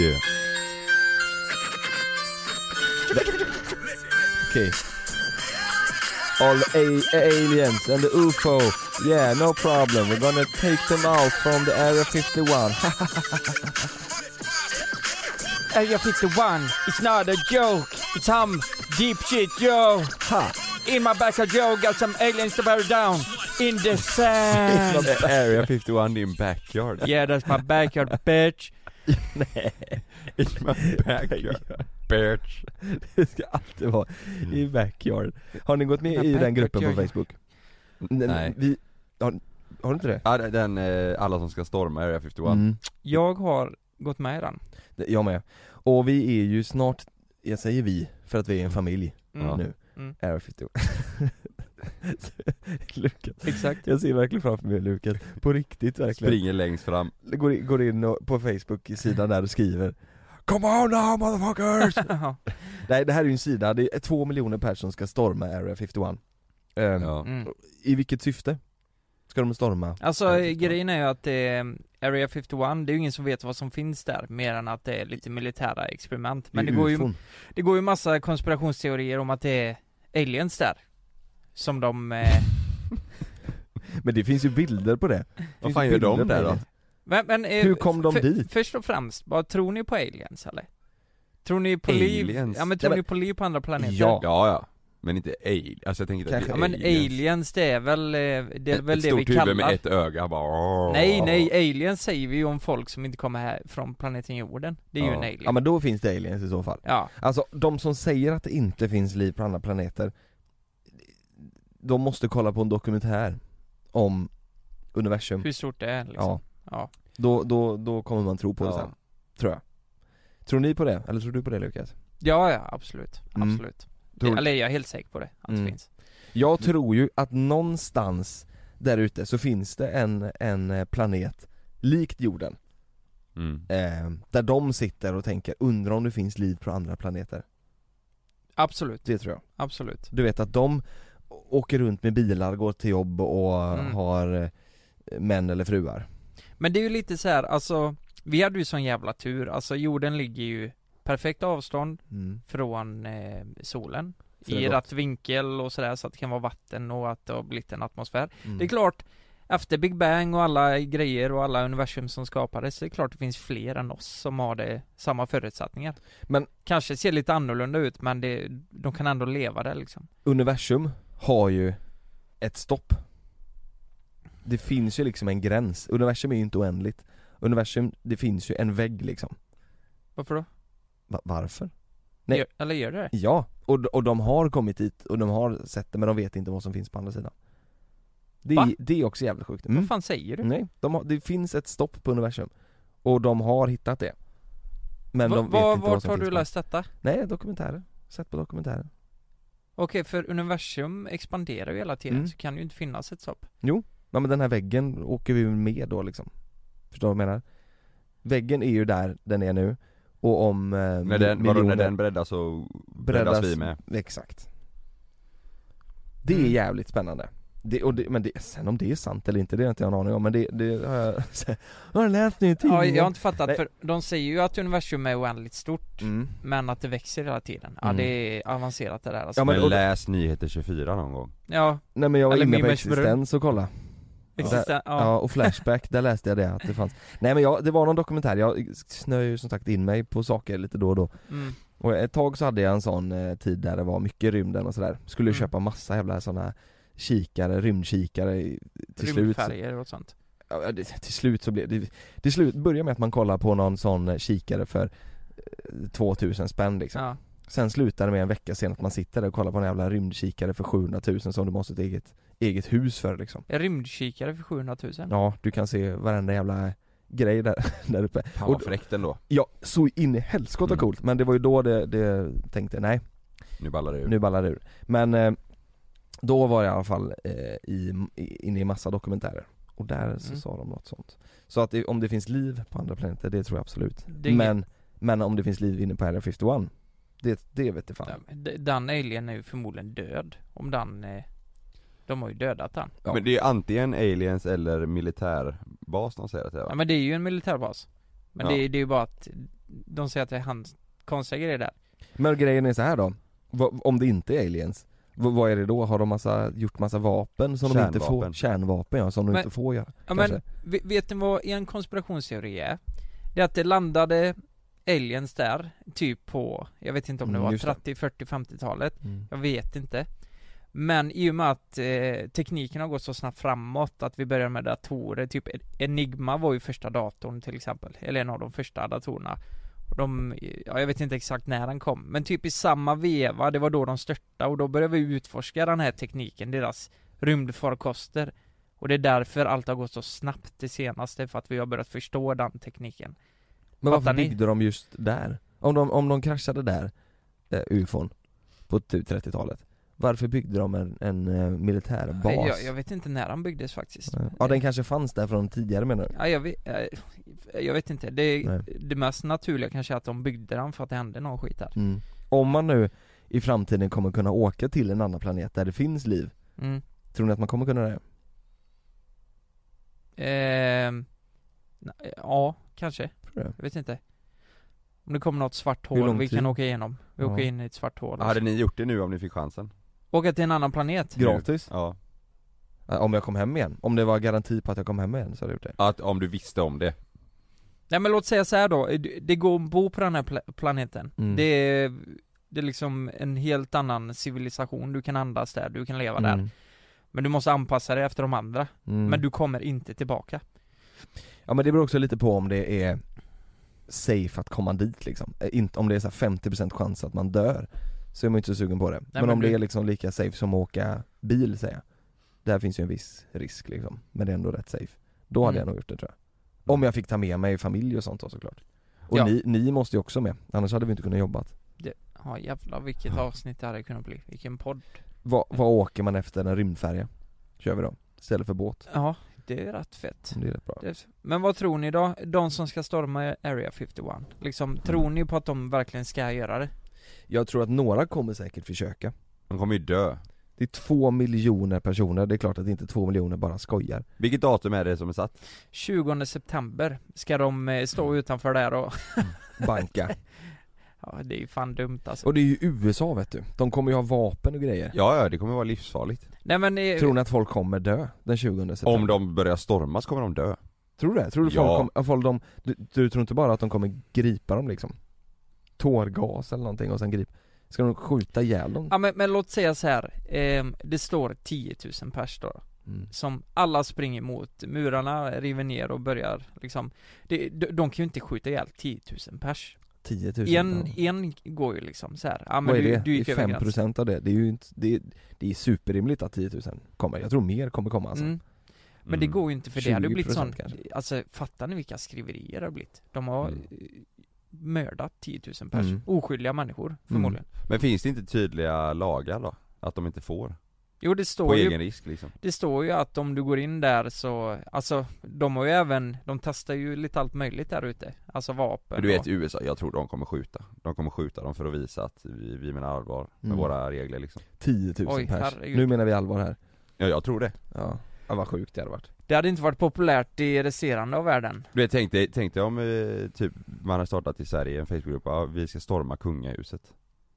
Yeah. Okay. All the a- aliens and the UFO. Yeah, no problem. We're gonna take them out from the Area 51. Area 51, it's not a joke, it's some deep shit, yo. Ha! In my backyard, yo, got some aliens to bury down in the sand. Ä- Area 51 in backyard. yeah, that's my backyard, bitch. In my backyard. Mm. Bitch. Det ska alltid vara i backyard. Har ni gått med i den gruppen på Facebook? Nej. Vi, har, har du inte det? Ja, det- den, eh, alla som ska storma Area 51. Mm. Jag har gått med i den. Det- Jag med. Och vi är ju snart, jag säger vi, för att vi är en familj Mm, Ja. nu. Mm. Air 51. Lukas. Exakt. Jag ser verkligen framför mig Lukas, på riktigt verkligen. Springer längst fram. Går in, går in och, på Facebook-sidan där och skriver Come on now motherfuckers! Ja. Nej det här är ju en sida, det är två miljoner personer som ska storma Area 51 Ehm, Ja. Mm. I vilket syfte? Ska de storma? Alltså Area 51. grejen är ju att eh, Area 51, det är ju ingen som vet vad som finns där, mer än att det är lite militära experiment. Men det, är går ju, ufon. det går ju massa konspirationsteorier om att det är aliens där. Som de, eh, Men det finns ju bilder på det Vad Finns fan ju gör de bilder där på då? det. men, men, eh, Hur kom de för- dit? Först och främst, vad tror ni på aliens eller? Tror ni på liv? Aliens? Ja men Ja, tror men- ni på liv på andra planeter? Ja. Ja, ja. Men inte alien. Alltså jag tänker inte att det Kanske. Ja är men aliens det är väl, eh, det är väl ett det vi stort kallar huvud med ett öga bara. Nej nej, aliens säger vi ju om folk som inte kommer här från planeten jorden Det är ju Ja. en alien Ja men då finns det aliens i så fall Ja, Alltså de som säger att det inte finns liv på andra planeter De måste kolla på en dokumentär om universum hur stort det är liksom Mm. Ja, Ja. då, då, då kommer man tro på det Ja. sen, tror jag Tror ni på det? Eller tror du på det Lukas? Ja, ja absolut, Mm. absolut. Tror- Eller jag är helt säker på det, att Mm. det finns. Jag tror ju att någonstans där ute så finns det en, en eh, planet likt jorden Mm. eh, Där de sitter och tänker, undrar om det finns liv på andra planeter Absolut, Det tror jag absolut. Du vet att de å- åker runt med bilar, går till jobb och Mm. har eh, män eller fruar Men det är ju lite så här, alltså, vi hade ju sån jävla tur, alltså jorden ligger ju perfekt avstånd mm. från eh, solen. Så det är I gott. rätt vinkel och sådär, så att det kan vara vatten och att det har blivit en atmosfär. Mm. Det är klart, efter Big Bang och alla grejer och alla universum som skapades, det är klart det finns fler än oss som har det, samma förutsättningar. Men- Kanske ser lite annorlunda ut, men det, de kan ändå leva där liksom. Universum har ju ett stopp Det finns ju liksom en gräns, universum är ju inte oändligt Universum, det finns ju en vägg liksom Varför då? Va- Varför? Nej. Nej. Gör, eller gör det det? Ja, och, d- och de har kommit dit och de har sett det men de vet inte vad som finns på andra sidan Det, Va? är- det är också jävligt sjukt Vad fan säger du? Mm. Nej, de har, det finns ett stopp på universum Och de har hittat det Men Va- de vet va- inte vad vart som har finns du på- läst detta? Nej, dokumentärer. Sett på dokumentärer. Okej, för universum expanderar ju hela tiden, Mm. så kan det ju inte finnas ett stopp. Ja men den här väggen åker vi ju med då liksom. Förstår du vad jag menar? Väggen är ju där den är nu och om eh, mi- När den, vadå, när miljoner den breddas så breddas, vi med. Exakt. Det är Mm. jävligt spännande. Det, och det, men det, sen om det är sant eller inte, det har inte jag en aning om men det, det har jag, har jag läst nu i Ja, tidningen. jag har inte fattat, Nej. för de säger ju att universum är oändligt stort, mm. men att det växer hela tiden. Ja, Mm. det är avancerat det där alltså. Ja, men men- och- läs Nyheter 24 någon gång. Ja, Nej men jag var Eller inne på Mimersbrunn. existens och kolla. existen- Ja. och Flashback, där läste jag det att det fanns. Nej men jag, det var någon dokumentär, jag snöar ju som sagt in mig på saker lite då och då. Mm. Och ett tag så hade jag en sån eh, tid där det var mycket rymden och sådär. Skulle Mm. köpa massa jävla såna kikare, rymdkikare i- till slut. Så, Rymdfärger och sånt. ja, det, till slut så blev det, till slut började med att man kollar på någon sån eh, kikare för eh, 2000 spänn liksom. Ja. Sen slutar det med en vecka sen att man sitter där och kollar på en jävla rymdkikare för 700 000 som du måste ha ett eget, eget hus för liksom. En rymdkikare för 700 000. Ja, du kan se varenda jävla grej där, där uppe. Fan Och- vad fräckt ändå. Ja, så in i helskotta Mm. coolt, men det var ju då det, det tänkte, nej Nu ballar det ur. nu ballar det ur. Men eh, då var jag i alla fall eh, i, i, inne i massa dokumentärer och där så Mm. sa de något sånt. Så att det, om det finns liv på andra planeter, det tror jag absolut. Det är inget- Men, men om det finns liv inne på Area 51, det, det vet jag fan. Ja, men d- Den alien är ju förmodligen död. Om den... eh, De har ju dödat den. Ja. Men det är antingen aliens eller militär militärbas de säger att det är Ja va? men det är ju en militärbas Men Ja. det, är- det är ju bara att De säger att det är hans konstiga grejer där Men grejen är så här då, Vad- om det inte är aliens, v- vad är det då? Har de massa, gjort massa vapen som de inte får? Kärnvapen. Kärnvapen ja, som de Men- inte får göra Ja kanske. men, ve- vet ni vad en konspirationsteori är? Det är att det landade aliens där, typ på, jag vet inte om det Mm, var just det. 30, 40, 50-talet Mm. Jag vet inte Men i och med att eh, tekniken har gått så snabbt framåt att vi börjar med datorer, typ Enigma var ju första datorn till exempel, eller en av de första datorerna Och de, ja, jag vet inte exakt när den kom, men typ i samma veva, det var då de störtade och då började vi utforska den här tekniken, deras rymdfarkoster Och det är därför allt har gått så snabbt det senaste, för att vi har börjat förstå den tekniken Men varför Fattar ni? byggde de just där? Om de, om de kraschade där, eh, ufon, på typ 30-talet Varför byggde de en, en eh, militärbas? Eh, Jag, jag vet inte när den byggdes faktiskt Ja den kanske fanns där från tidigare menar du? Ja, jag, vet, eh, jag vet inte, det, Nej. det mest naturliga kanske är att de byggde den för att det hände någon skit där Mm. Om man nu i framtiden kommer kunna åka till en annan planet där det finns liv, mm. tror ni att man kommer kunna det? Ehm, na- Ja, kanske, Tror du det? jag vet inte Om det kommer något svart Hur lång hål vi tid? kan åka igenom, vi Ja. åker in i ett svart hål och Hade så- ni gjort det nu om ni fick chansen? Åka till en annan planet? Gratis? Ja, Ja, Om jag kom hem igen? Om det var garanti på att jag kom hem igen så hade jag gjort det att om du visste om det Nej men låt säga så här då, det det går att bo på den här pla- planeten Mm. det, är, det är liksom en helt annan civilisation, du kan andas där, du kan leva där Mm. Men du måste anpassa dig efter de andra, Mm. men du kommer inte tillbaka Ja men det beror också lite på om det är safe att komma dit liksom. Eh, Inte om det är så här 50% chans att man dör, så är man ju inte så sugen på det. men, men om du- det är liksom lika safe som att åka bil säger jag. Där finns ju en viss risk liksom, men det är ändå rätt safe. Då hade Mm. jag nog gjort det tror jag. Om jag fick ta med mig familj och sånt då såklart. Och Ja. ni, ni måste ju också med, annars hade vi inte kunnat jobbat. Ja jävlar vilket avsnitt det hade kunnat bli, vilken podd Vad, vad åker man efter en rymdfärja? Kör vi då, istället för båt. Ja, det är rätt fett Det är rätt bra. Det- Men vad tror ni då, de som ska storma Area 51? Liksom, tror ni på att de verkligen ska göra det? Jag tror att några kommer säkert försöka. De kommer ju dö Det är två miljoner personer, det är klart att inte två miljoner bara skojar. Vilket datum är det som är satt? 20 september ska de eh, stå utanför där och, banka. ja det är ju fan dumt alltså Och det är ju USA vet du, de kommer ju ha vapen och grejer. Ja, ja det kommer vara livsfarligt Nej men, eh, Tror ni att folk kommer dö den 20 september? Om de börjar storma så kommer de dö Tror du det? Tror du Ja. folk kommer, att folk de, du, du tror inte bara att de kommer gripa dem liksom? Tårgas eller någonting och sen grip Ska de skjuta ihjäl dem? ja, men, men låt säga så här. Eh, det står 10 000 pers då Mm. Som alla springer mot, murarna river ner och börjar liksom det, de, de kan ju inte skjuta ihjäl 10 000 pers 10 000 En, ja. en går ju liksom så här. ja men Vad är du, det? du gick det är över 5 gränsen procent av det, det är ju inte, det är, det är superrimligt att 10 000 kommer, jag tror mer kommer komma alltså. mm. Men det Mm. går ju inte för det hade ju blivit 20% sån, kanske. alltså fattar ni vilka skriverier det har blivit? De har Mm. eh, mördat 10 000 pers, Mm. oskyldiga människor förmodligen Men finns det inte tydliga lagar då? Att de inte får? Jo det På står ju, egen risk liksom det står ju att om du går in där så, alltså de har ju även, de testar ju lite allt möjligt där ute, alltså vapen Men du vet och, i USA, jag tror de kommer skjuta De kommer skjuta dem för att visa att vi, vi menar allvar med Mm. våra regler liksom 10 000 Oj, pers. herregud. Nu menar vi allvar här. Ja jag tror det Ja. ja, vad sjukt det hade varit. Det hade inte varit populärt i resterande av världen Du vet, tänk dig, tänk dig om eh, typ man har startat i Sverige en Facebookgrupp, ja, vi ska storma kungahuset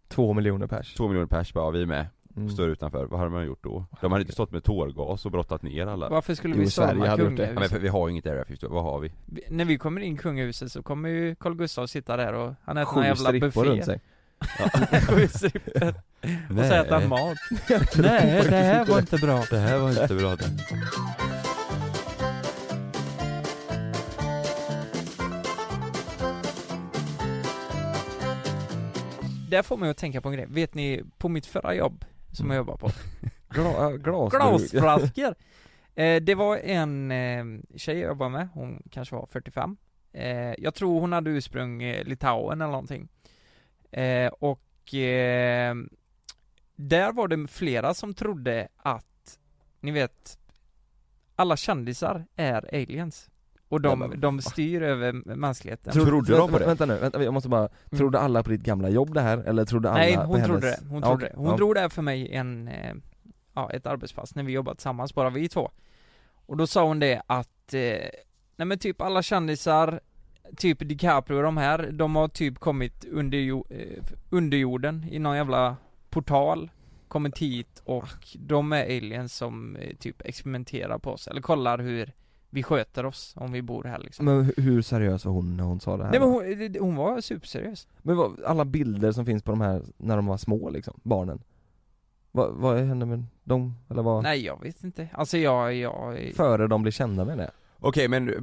Två miljoner pers. Två miljoner pers bara, ja, vi är med, Mm. står utanför, vad hade man gjort då? De hade inte stått med tårgas och brottat ner alla Varför skulle Jo, vi Sverige storma hade gjort det. ja, men kungahuset? för vi har ju inget Area 50, vad har vi? Vi- När vi kommer in i kungahuset så kommer ju Carl Gustav sitta där och han äter någon Sju jävla strippor runt buffé sig. Sju strippor och så äter han mat Nej, det här var inte bra Det här var inte bra det. Där får man ju att tänka på en grej. Vet ni, på mitt förra jobb som jag jobbar på, Gla, äh, glas glasflaskor! Eh, det var en eh, tjej jag jobbade med, hon kanske var 45 eh, Jag tror hon hade ursprung eh, Litauen eller någonting eh, Och eh, där var det flera som trodde att, ni vet, alla kändisar är aliens och de, Nej, men de styr över mänskligheten Tror- Trodde de vänta, på det? Vänta nu, vänta, jag måste bara, trodde alla på ditt gamla jobb det här eller trodde alla Mm. Nej, på hon hennes... trodde det. Hon Ja, trodde okej. det. Hon Ja. drog det här för mig en, eh, ja, ett arbetspass när vi jobbade tillsammans, bara vi två. Och då sa hon det att eh, Nej men typ alla kändisar Typ DiCaprio och de här, de har typ kommit under, jo- eh, under jorden i någon jävla portal Kommit hit och de är aliens som eh, typ experimenterar på oss, eller kollar hur vi sköter oss om vi bor här liksom Men hu- hur seriös var hon när hon sa det här? Nej men då? hon, eh, hon var superseriös men vad, alla bilder som finns på de här när de var små liksom, barnen Vad, vad hände med dem? Eller vad? Nej jag vet inte, alltså jag, jag Före de blev kända med det? Okej men, eh,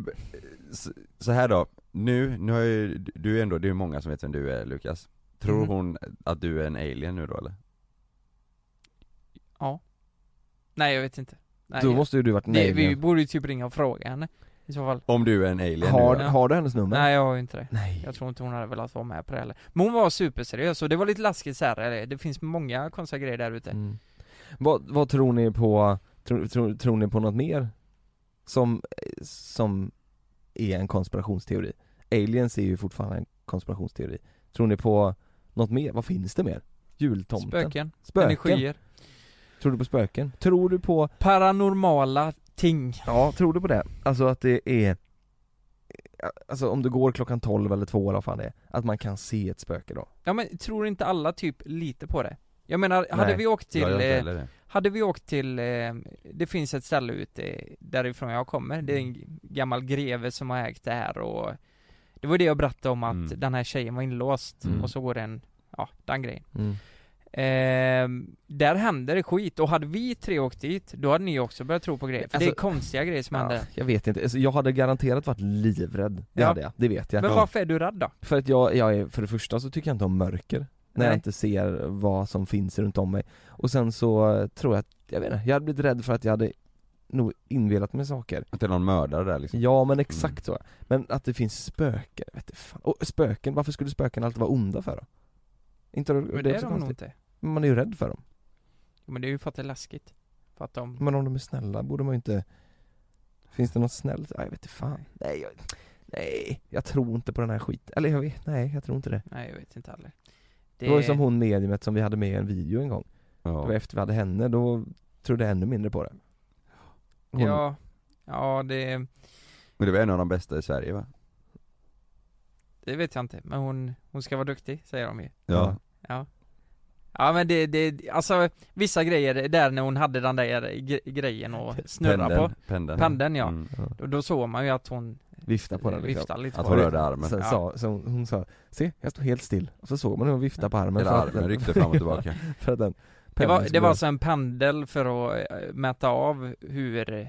s- så här då, nu, nu har ju, du är ändå, det är ju många som vet vem du är Lukas Tror Mm. hon att du är en alien nu då eller? Nej jag vet inte Nej, Då måste ju du varit det, nej vi borde ju typ ringa och fråga henne i så fall Om du är en alien har, nu då? Ja. har du hennes nummer? Nej jag har ju inte det Nej. Jag tror inte hon hade velat vara med på det heller Men hon var superseriös och det var lite läskigt så här. eller det finns många konstiga grejer där ute Mm. Vad, vad tror ni på, tror, tror, tror ni på något mer? Som, som är en konspirationsteori? Aliens är ju fortfarande en konspirationsteori Tror ni på något mer? Vad finns det mer? Jultomten? Spöken, Spöken? energier, Tror du på spöken? Tror du på, paranormala ting ja tror du på det? Alltså att det är Alltså om du går klockan 12 eller 2 eller vad fan det är, att man kan se ett spöke då? Ja men tror inte alla typ lite på det? Jag menar, hade Nej. vi åkt till, Ja, jag vet eh, heller det. hade vi åkt till, eh, det finns ett ställe ute därifrån jag kommer, det är Mm. en g- gammal greve som har ägt det här och Det var det jag berättade om att Mm. den här tjejen var inlåst Mm. och så går det en, ja den grejen Ehm, där hände det skit och hade vi tre åkt dit, då hade ni också börjat tro på grejer. För det är Alltså- konstiga grejer som Ja, händer. jag vet inte, alltså, jag hade garanterat varit livrädd, det eh, Ja. hade jag, det vet jag Men varför är du rädd då? För att jag, jag är, för det första så tycker jag inte om mörker När jag Nej. inte ser vad som finns runt om mig Och sen så eh, tror jag att, jag vet inte, jag hade blivit rädd för att jag hade nog invelat mig saker Att det är någon mördare där liksom Ja men exakt Mm. så, men att det finns spöken, vet du fan. Och spöken, varför skulle spöken alltid vara onda för då? Inte det, Men det, det, är är också de nog konstigt, inte. men man är ju rädd för dem Men det är ju för att det är läskigt. För att de... Men om de är snälla borde man ju inte Finns det något snällt? Nej, jag vet inte fan Nej, jag, nej, jag tror inte på den här skiten, eller jag vet, nej jag tror inte det Nej jag vet inte heller. Det var ju som hon mediumet som vi hade med i en video en gång Det var ja. efter vi hade henne, då trodde jag ännu mindre på det Hon, Ja, ja det, Men det var en av de bästa i Sverige va? det vet jag inte. Men hon, hon ska vara duktig, säger de ju. Ja, Ja. Ja men det, det, alltså vissa grejer där när hon hade den där gre- grejen och snurra på. pendeln, pendeln Pendeln, ja. Mm. ja, Då, då såg man ju att hon Vifta på den liksom viftade lite Att på hon den. rörde armen, Sen Ja. sa, så hon, hon sa, se jag står helt still, och så såg man hur hon viftade på armen eller för att armen den- ryckte fram och tillbaka För att den Det var, pendeln det var skulle- alltså en pendel för att eh, mäta av hur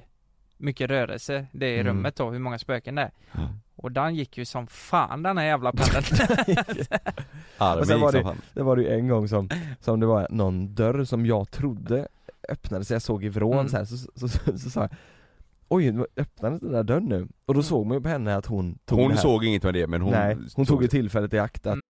mycket rörelse det är i Mm. rummet då, hur många spöken det är. Ja. Och den gick ju som fan den här jävla pendeln. Armen Och sen gick var som fan Det var det ju en gång som, som det var någon dörr som jag trodde öppnade sig, jag såg i vrån Mm. så, här, så, så, så, så, sa jag Oj, nu öppnades den där dörren nu? Och Mm. då såg man ju på henne att hon tog det Hon här. såg inget med det men hon Nej, hon tog ju tillfället i akt att Mm.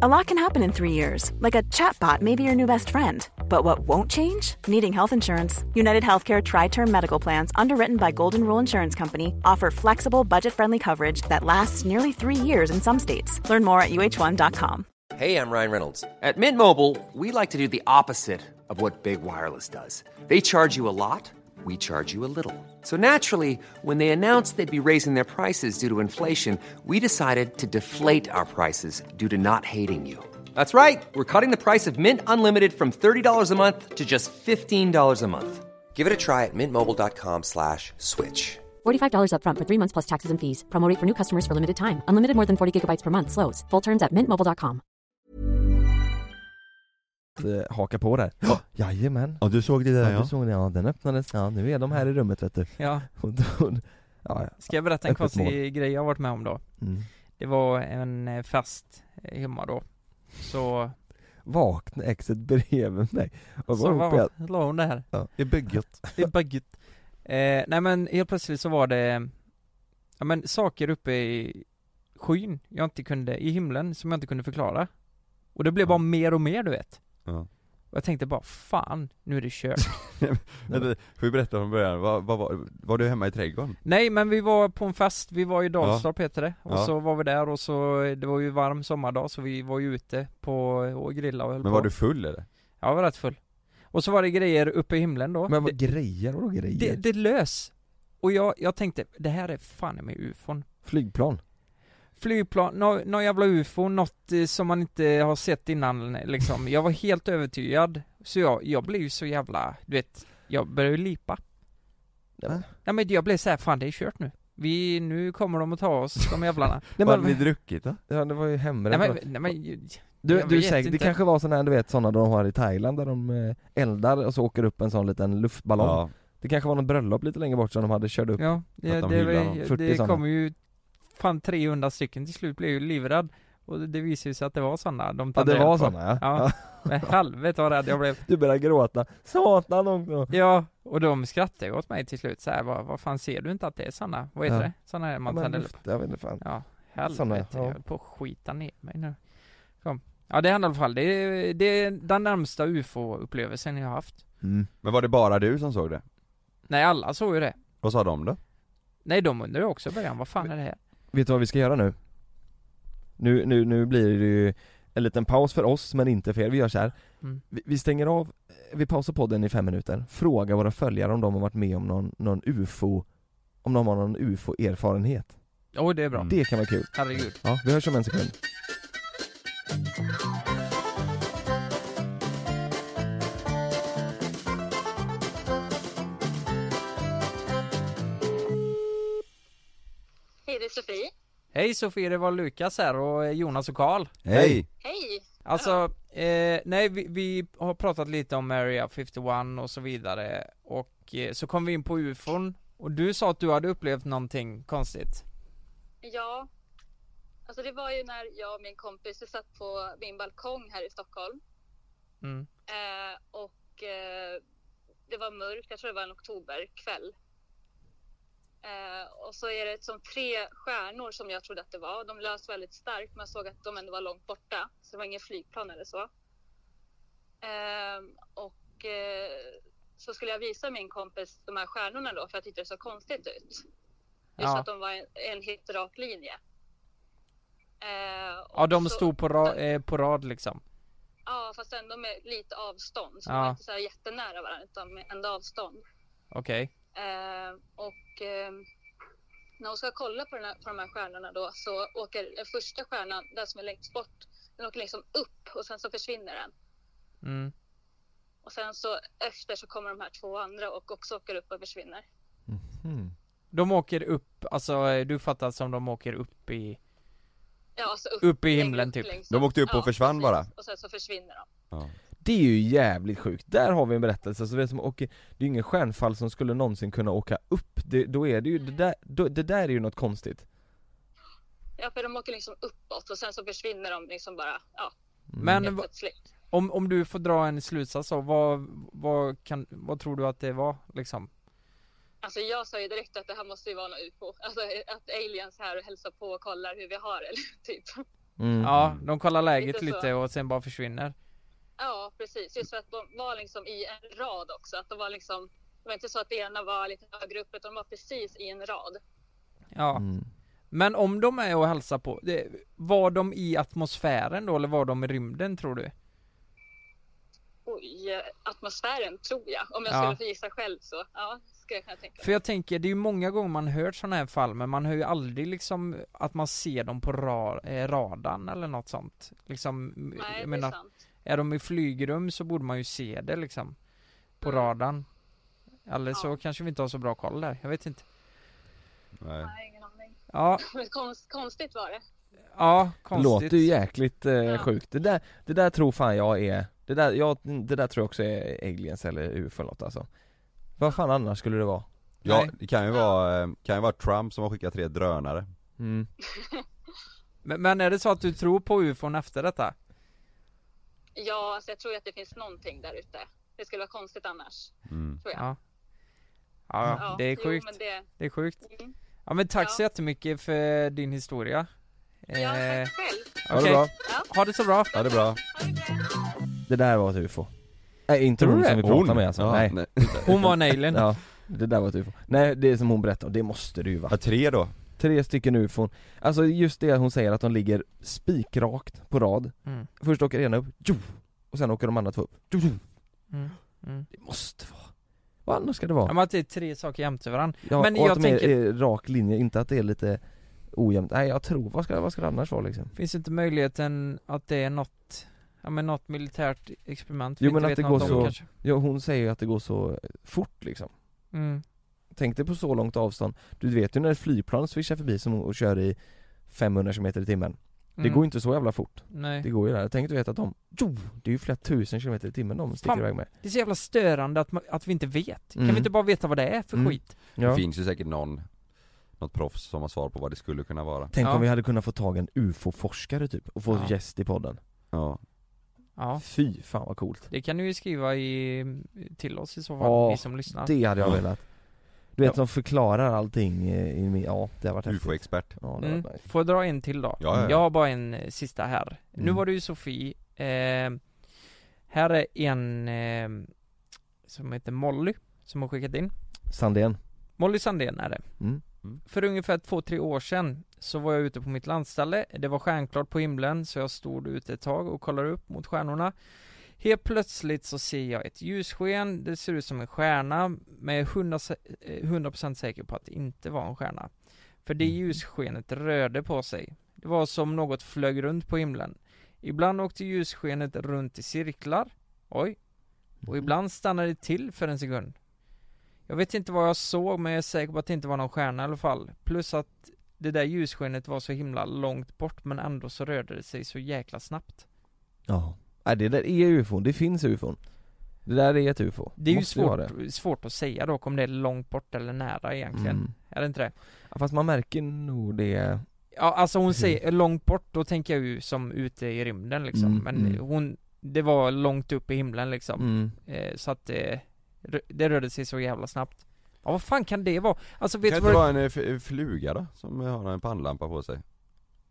A lot can happen in three years, like a chatbot may be your new best friend. But what won't change? Needing health insurance. United Healthcare Tri Term Medical Plans, underwritten by Golden Rule Insurance Company, offer flexible, budget friendly coverage that lasts nearly three years in some states. Learn more at uh1.com. Hey, I'm Ryan Reynolds. At Mint Mobile, we like to do the opposite of what Big Wireless does. They charge you a lot, we charge you a little. So naturally, when they announced they'd be raising their prices due to inflation, we decided to deflate our prices due to not hating you. That's right. We're cutting the price of Mint Unlimited from $30 a month to just $15 a month. Give it a try at mintmobile.com slash switch. $45 upfront for three months plus taxes and fees. Promo rate for new customers for limited time. Unlimited more than 40 gigabytes per month. Slows. Full terms at mintmobile.com. eh, haka på där Jajamän! Ja du såg det Ja, du såg det, ja den öppnades, ja nu är de här i rummet vet du ja, Och då- Ja, ja. ska jag berätta en Öppet konstig mål. grej jag har varit med om då? Mm. Det var en eh, fest hemma då. Så, Vakna exet bredvid mig och så var uppe var, jag, la hon det här. ja. i bygget Det är bugget. Eh, nej men helt plötsligt så var det, ja men saker uppe i skyn, jag inte kunde, i himlen, som jag inte kunde förklara. Och det blev bara mer och mer du vet. Ja. Och jag tänkte bara, fan, nu är det kört. Vänta, får vi berätta från början, var, var, var, var du hemma i trädgården? nej men vi var på en fest, vi var i Dalstorp heter det. Och Ja. så var vi där och så, det var ju varm sommardag så vi var ju ute på, och grillade och höll Men på. var du full eller? Ja, jag var rätt full. Och så var det grejer uppe i himlen då. Men det, vad grejer, vadå grejer? det, det lös. Och jag, jag tänkte, det här är fan med ufon Flygplan. Flygplan, nå- någon jävla ufo, något eh, som man inte har sett innan liksom Jag var helt övertygad Så jag, jag blev ju så jävla, du vet Jag började ju lipa Nej, men- Nej men jag blev så här, fan det är kört nu Vi, nu kommer de att ta oss, de jävlarna Nej, Vad hade ni men, druckit då? ja, det var ju Nej hembränt. men, nej men, ju- Du, Jag du är vet säker, det inte. kanske var sådana här, du vet sådana de har i Thailand där de eh, eldar och så åker upp en sån liten luftballong Ja, Det kanske var något bröllop lite längre bort som de hade kört upp ja, det, Att de det, hyllar var- dem. 40 det sådana. kom ju fan 300 stycken till slut, blev jag ju livrädd Och det- det visade ju sig att det var sådana de Ja tände det var eld på. sådana ja. Ja. Men helvete vad rädd jag blev Du började gråta, satan också! Ja, och de skrattade ju åt mig till slut så här, vad, vad fan ser du inte att det är såna, vad heter Ja. det? Såna här man Ja, men tänder upp luft- Jag vet inte fan Ja, Såna, helvete, ja. jag höll på att skita ner mig nu Kom. Ja det är i alla fall, det är, det är den närmsta ufo-upplevelsen jag har haft mm. men var det bara du som såg det? Nej alla såg ju det Vad sa de då? Nej de undrade också i början, vad fan är det här? Vet du vad vi ska göra nu? Nu, nu, nu blir det ju en liten paus för oss men inte för er, vi gör så här. Mm. Vi, vi stänger av, eh, vi pausar podden i fem minuter, fråga våra följare om de har varit med om någon, någon ufo Om de har någon ufo-erfarenhet Åh det är bra, Det kan vara kul herregud Mm. Ja, vi hörs om en sekund. Hej, det är Sofie. Hej Sofie, det var Lukas här och eh, Jonas och Karl Hej! Hej! Alltså, eh, nej vi, vi har pratat lite om Area 51 och så vidare och eh, så kom vi in på ufon och du sa att du hade upplevt någonting konstigt. Ja, alltså det var ju när jag och min kompis vi satt på min balkong här i Stockholm Mm. eh, och eh, det var mörkt, jag tror det var en oktoberkväll. Eh, och så är det som tre stjärnor som jag trodde att det var. De lös väldigt starkt, man såg att de ändå var långt borta, så det var ingen flygplan eller så. Ehm, och eh, så skulle jag visa min kompis de här stjärnorna då, för jag tyckte det såg konstigt ut. Just Ja. att de var en, en helt rak linje. Eh, Ja och de så- stod på, ra- eh, på rad liksom. Ja, fast ändå med lite avstånd. Så Ja. de var inte så här jättenära varandra, utan med ändå avstånd. Okej. Eh, och eh, när hon ska kolla på, den här, på de här stjärnorna då så åker den första stjärnan, den som är längst bort, den åker liksom upp och sen så försvinner den. Mm. Och sen så efter så kommer de här två andra och också åker upp och försvinner. Mhm. De åker upp, alltså eh, du fattar som de åker upp i... Ja, alltså upp, Upp i längre himlen, upp typ. längst De åkte upp och försvann precis. bara. Och sen så försvinner de. Ja. Det är ju jävligt sjukt, där har vi en berättelse, så det är som åker, det är ju ingen stjärnfall som skulle någonsin kunna åka upp, det, då är det ju, det där, då, det där är ju något konstigt Ja, för de åker liksom uppåt och sen så försvinner de liksom bara, ja, Men Mm. helt va- plötsligt. om, om du får dra en slutsats av vad, vad, kan, vad tror du att det var liksom? Alltså jag sa ju direkt att det här måste ju vara något UFO. Alltså att aliens här och hälsar på och kollar hur vi har det, typ. mm. Ja, de kollar läget Lite lite, så. och sen bara försvinner. Ja, precis. Just för att de var liksom i en rad också. Att de var liksom, det var inte så att det ena var lite högre upp, utan de var precis i en rad. Ja. Mm. Men om de är och hälsar på, det, var de i atmosfären då eller var de i rymden tror du? Oj, eh, atmosfären tror jag. Om jag Ja. skulle få gissa själv så, ja, skulle jag kunna tänka För mig. jag tänker, det är ju många gånger man hört sådana här fall men man hör ju aldrig liksom att man ser dem på ra- eh, radarn eller något sånt. Liksom, Nej, jag det är menar, sant. är de i flygrum så borde man ju se det liksom. På Mm. radarn. Eller så Ja. kanske vi inte har så bra koll där, jag vet inte. Nej. Nej, ingen aning. Ja, Men konst, konstigt var det. ja, Det konstigt. låter ju jäkligt eh, Ja. sjukt, det där, det där tror fan jag är, det där, jag, det där tror jag också är aliens eller ufo eller något alltså Vad fan annars skulle det vara? Ja, Nej. det kan ju vara, eh, kan ju vara Trump som har skickat tre drönare Mm. men, men är det så att du tror på ufon efter detta? Ja, alltså jag tror ju att det finns någonting där ute. Det skulle vara konstigt annars, mm. tror jag. Ja. Ja, ja, det är sjukt. Jo, men det... Det är sjukt. Mm. Ja men tack så Ja. jättemycket för din historia. Ja, Eh, tack själv. Ha det okej. bra. Ha det så bra. Ja det är bra Ha det bra. Det där var ett ufo Nej inte Tror hon du som det? vi pratade med alltså, ja, nej Hon var en alien. Ja, det där var ett ufo Nej det är som hon berättade, det måste du ju vara Ja, tre då? Tre stycken ufon, alltså just det hon säger att de ligger spikrakt på rad Mm. Först åker ena upp, jo! Och sen åker de andra två upp, jo, jo. Mm. Mm. Det måste vara Vad annars ska det vara? Ja, men att det är tre saker jämte varandra. Ja, men och jag att de är, tänker- är rak linje, inte att det är lite ojämnt. Nej jag tror, vad ska, vad ska det annars vara liksom? Finns inte möjligheten att det är något, ja men något militärt experiment vi Jo, inte men att vet det något går om så- kanske? Ja hon säger ju att det går så fort liksom Mm. Tänk dig på så långt avstånd, du vet ju när ett flygplan svischar förbi som och kör i 500 km i timmen Det Mm. går ju inte så jävla fort, Nej. det går ju där, tänk du vet att de, jo! Det är ju flera tusen kilometer i timmen de sticker Fan. iväg med Det är så jävla störande att, man- att vi inte vet. Kan Mm. vi inte bara veta vad det är för Mm. skit? Det ja. finns ju säkert någon, något proffs som har svar på vad det skulle kunna vara Tänk Ja. om vi hade kunnat få tag i en ufo-forskare typ, och få Ja. gäst i podden Ja, Ja. Fy fan vad coolt Det kan ni ju skriva i, till oss i så fall, Ja, ni som lyssnar. Det hade jag velat Du vet Ja. som förklarar allting eh, i min, ja det har varit häftigt ufo-expert Ja det har Mm. varit nice Får jag dra en till då? Ja, ja, ja. Jag har bara en eh, sista här. Nu Mm. var det ju Sofie. Eh, här är en eh, som heter Molly, som har skickat in. Sandén, Molly Sandén är det. mm. För ungefär två, tre år sedan så var jag ute på mitt landställe. Det var stjärnklart på himlen så jag stod ute ett tag och kollade upp mot stjärnorna. Helt plötsligt så ser jag ett ljussken. Det ser ut som en stjärna men jag är 100% eh, 100% säker på att det inte var en stjärna. För det ljusskenet rörde på sig. Det var som något flög runt på himlen. Ibland åkte ljusskenet runt i cirklar. Oj. Och ibland stannade det till för en sekund. Jag vet inte vad jag såg men jag är säker på att det inte var någon stjärna i alla fall. Plus att det där ljusskenet var så himla långt bort men ändå så rörde det sig så jäkla snabbt. Ja, Nej, det där är ufon, det finns ufon Det där är ett ufo, Det är ju Måste ju vara svårt, svårt att säga dock om det är långt bort eller nära egentligen. Mm. Är det inte det? Ja, Fast man märker nog det, Ja alltså hon Precis. säger långt bort, då tänker jag ju som ute i rymden liksom. Mm, men mm. hon, det var långt upp i himlen liksom. mm. Eh, så att eh, rö- det rörde sig så jävla snabbt. Ja vad fan kan det vara? Alltså vet Kan du det inte vad vara en eh, f- eh, fluga då, som har en pannlampa på sig?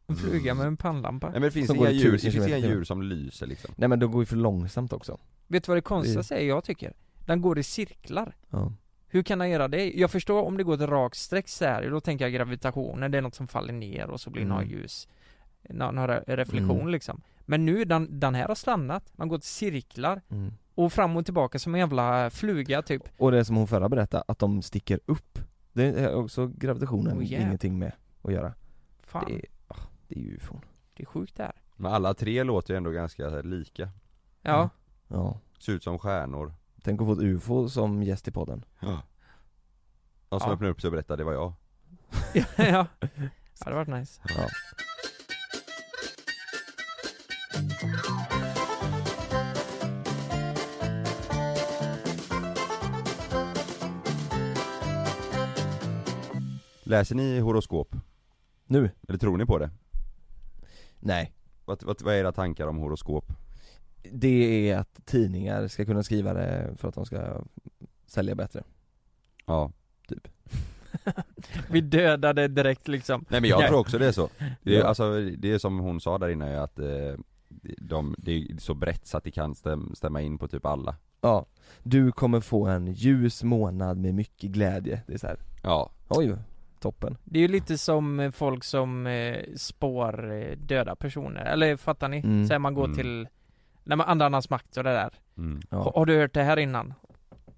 Mm. en fluga med en pannlampa? Nej men det finns Som inga går i djur, det tusen finns inga kilometer. djur som lyser liksom Nej men de går ju för långsamt också Vet du vad det konstigaste är jag tycker? Den går i cirklar. Ja, Hur kan den göra det? Jag förstår om det går ett rakt streck så här, då tänker jag gravitationen, det är något som faller ner och så blir det några Mm. ljus nå- Några reflektion Mm. liksom Men nu, den, den här har stannat, den har gått i cirklar mm. och fram och tillbaka som en jävla fluga typ Och det som hon förra berättade, att de sticker upp Det är också gravitationen Oh, yeah. ingenting med att göra Fan, Det det, är, ah, det är ju ufon är sjukt det här Men alla tre låter ju ändå ganska så här lika, Ja, Ja, ser ut som stjärnor tänk att få ett ufo som gäst i podden Ja De som Ja. öppnade upp sig och berättade, det var jag ja, ja. det hade varit nice Ja. Läser ni horoskop? Nu? Eller tror ni på det? Nej Vad, vad, vad är era tankar om horoskop? Det är att tidningar ska kunna skriva det för att de ska sälja bättre Ja Vi dödade direkt liksom Nej men jag Ja. tror också det är så Det är, Ja. alltså, det är som hon sa där innan ju att eh, de, det är så brett så att det kan stäm, stämma in på typ alla Ja, du kommer få en ljus månad med mycket glädje, det är så här. Ja oj, toppen Det är ju lite som eh, folk som eh, spår eh, döda personer, eller fattar ni? Mm. Så här, man går Mm. till, när man andarnas makt och det där mm. ja. Har- Har du hört det här innan?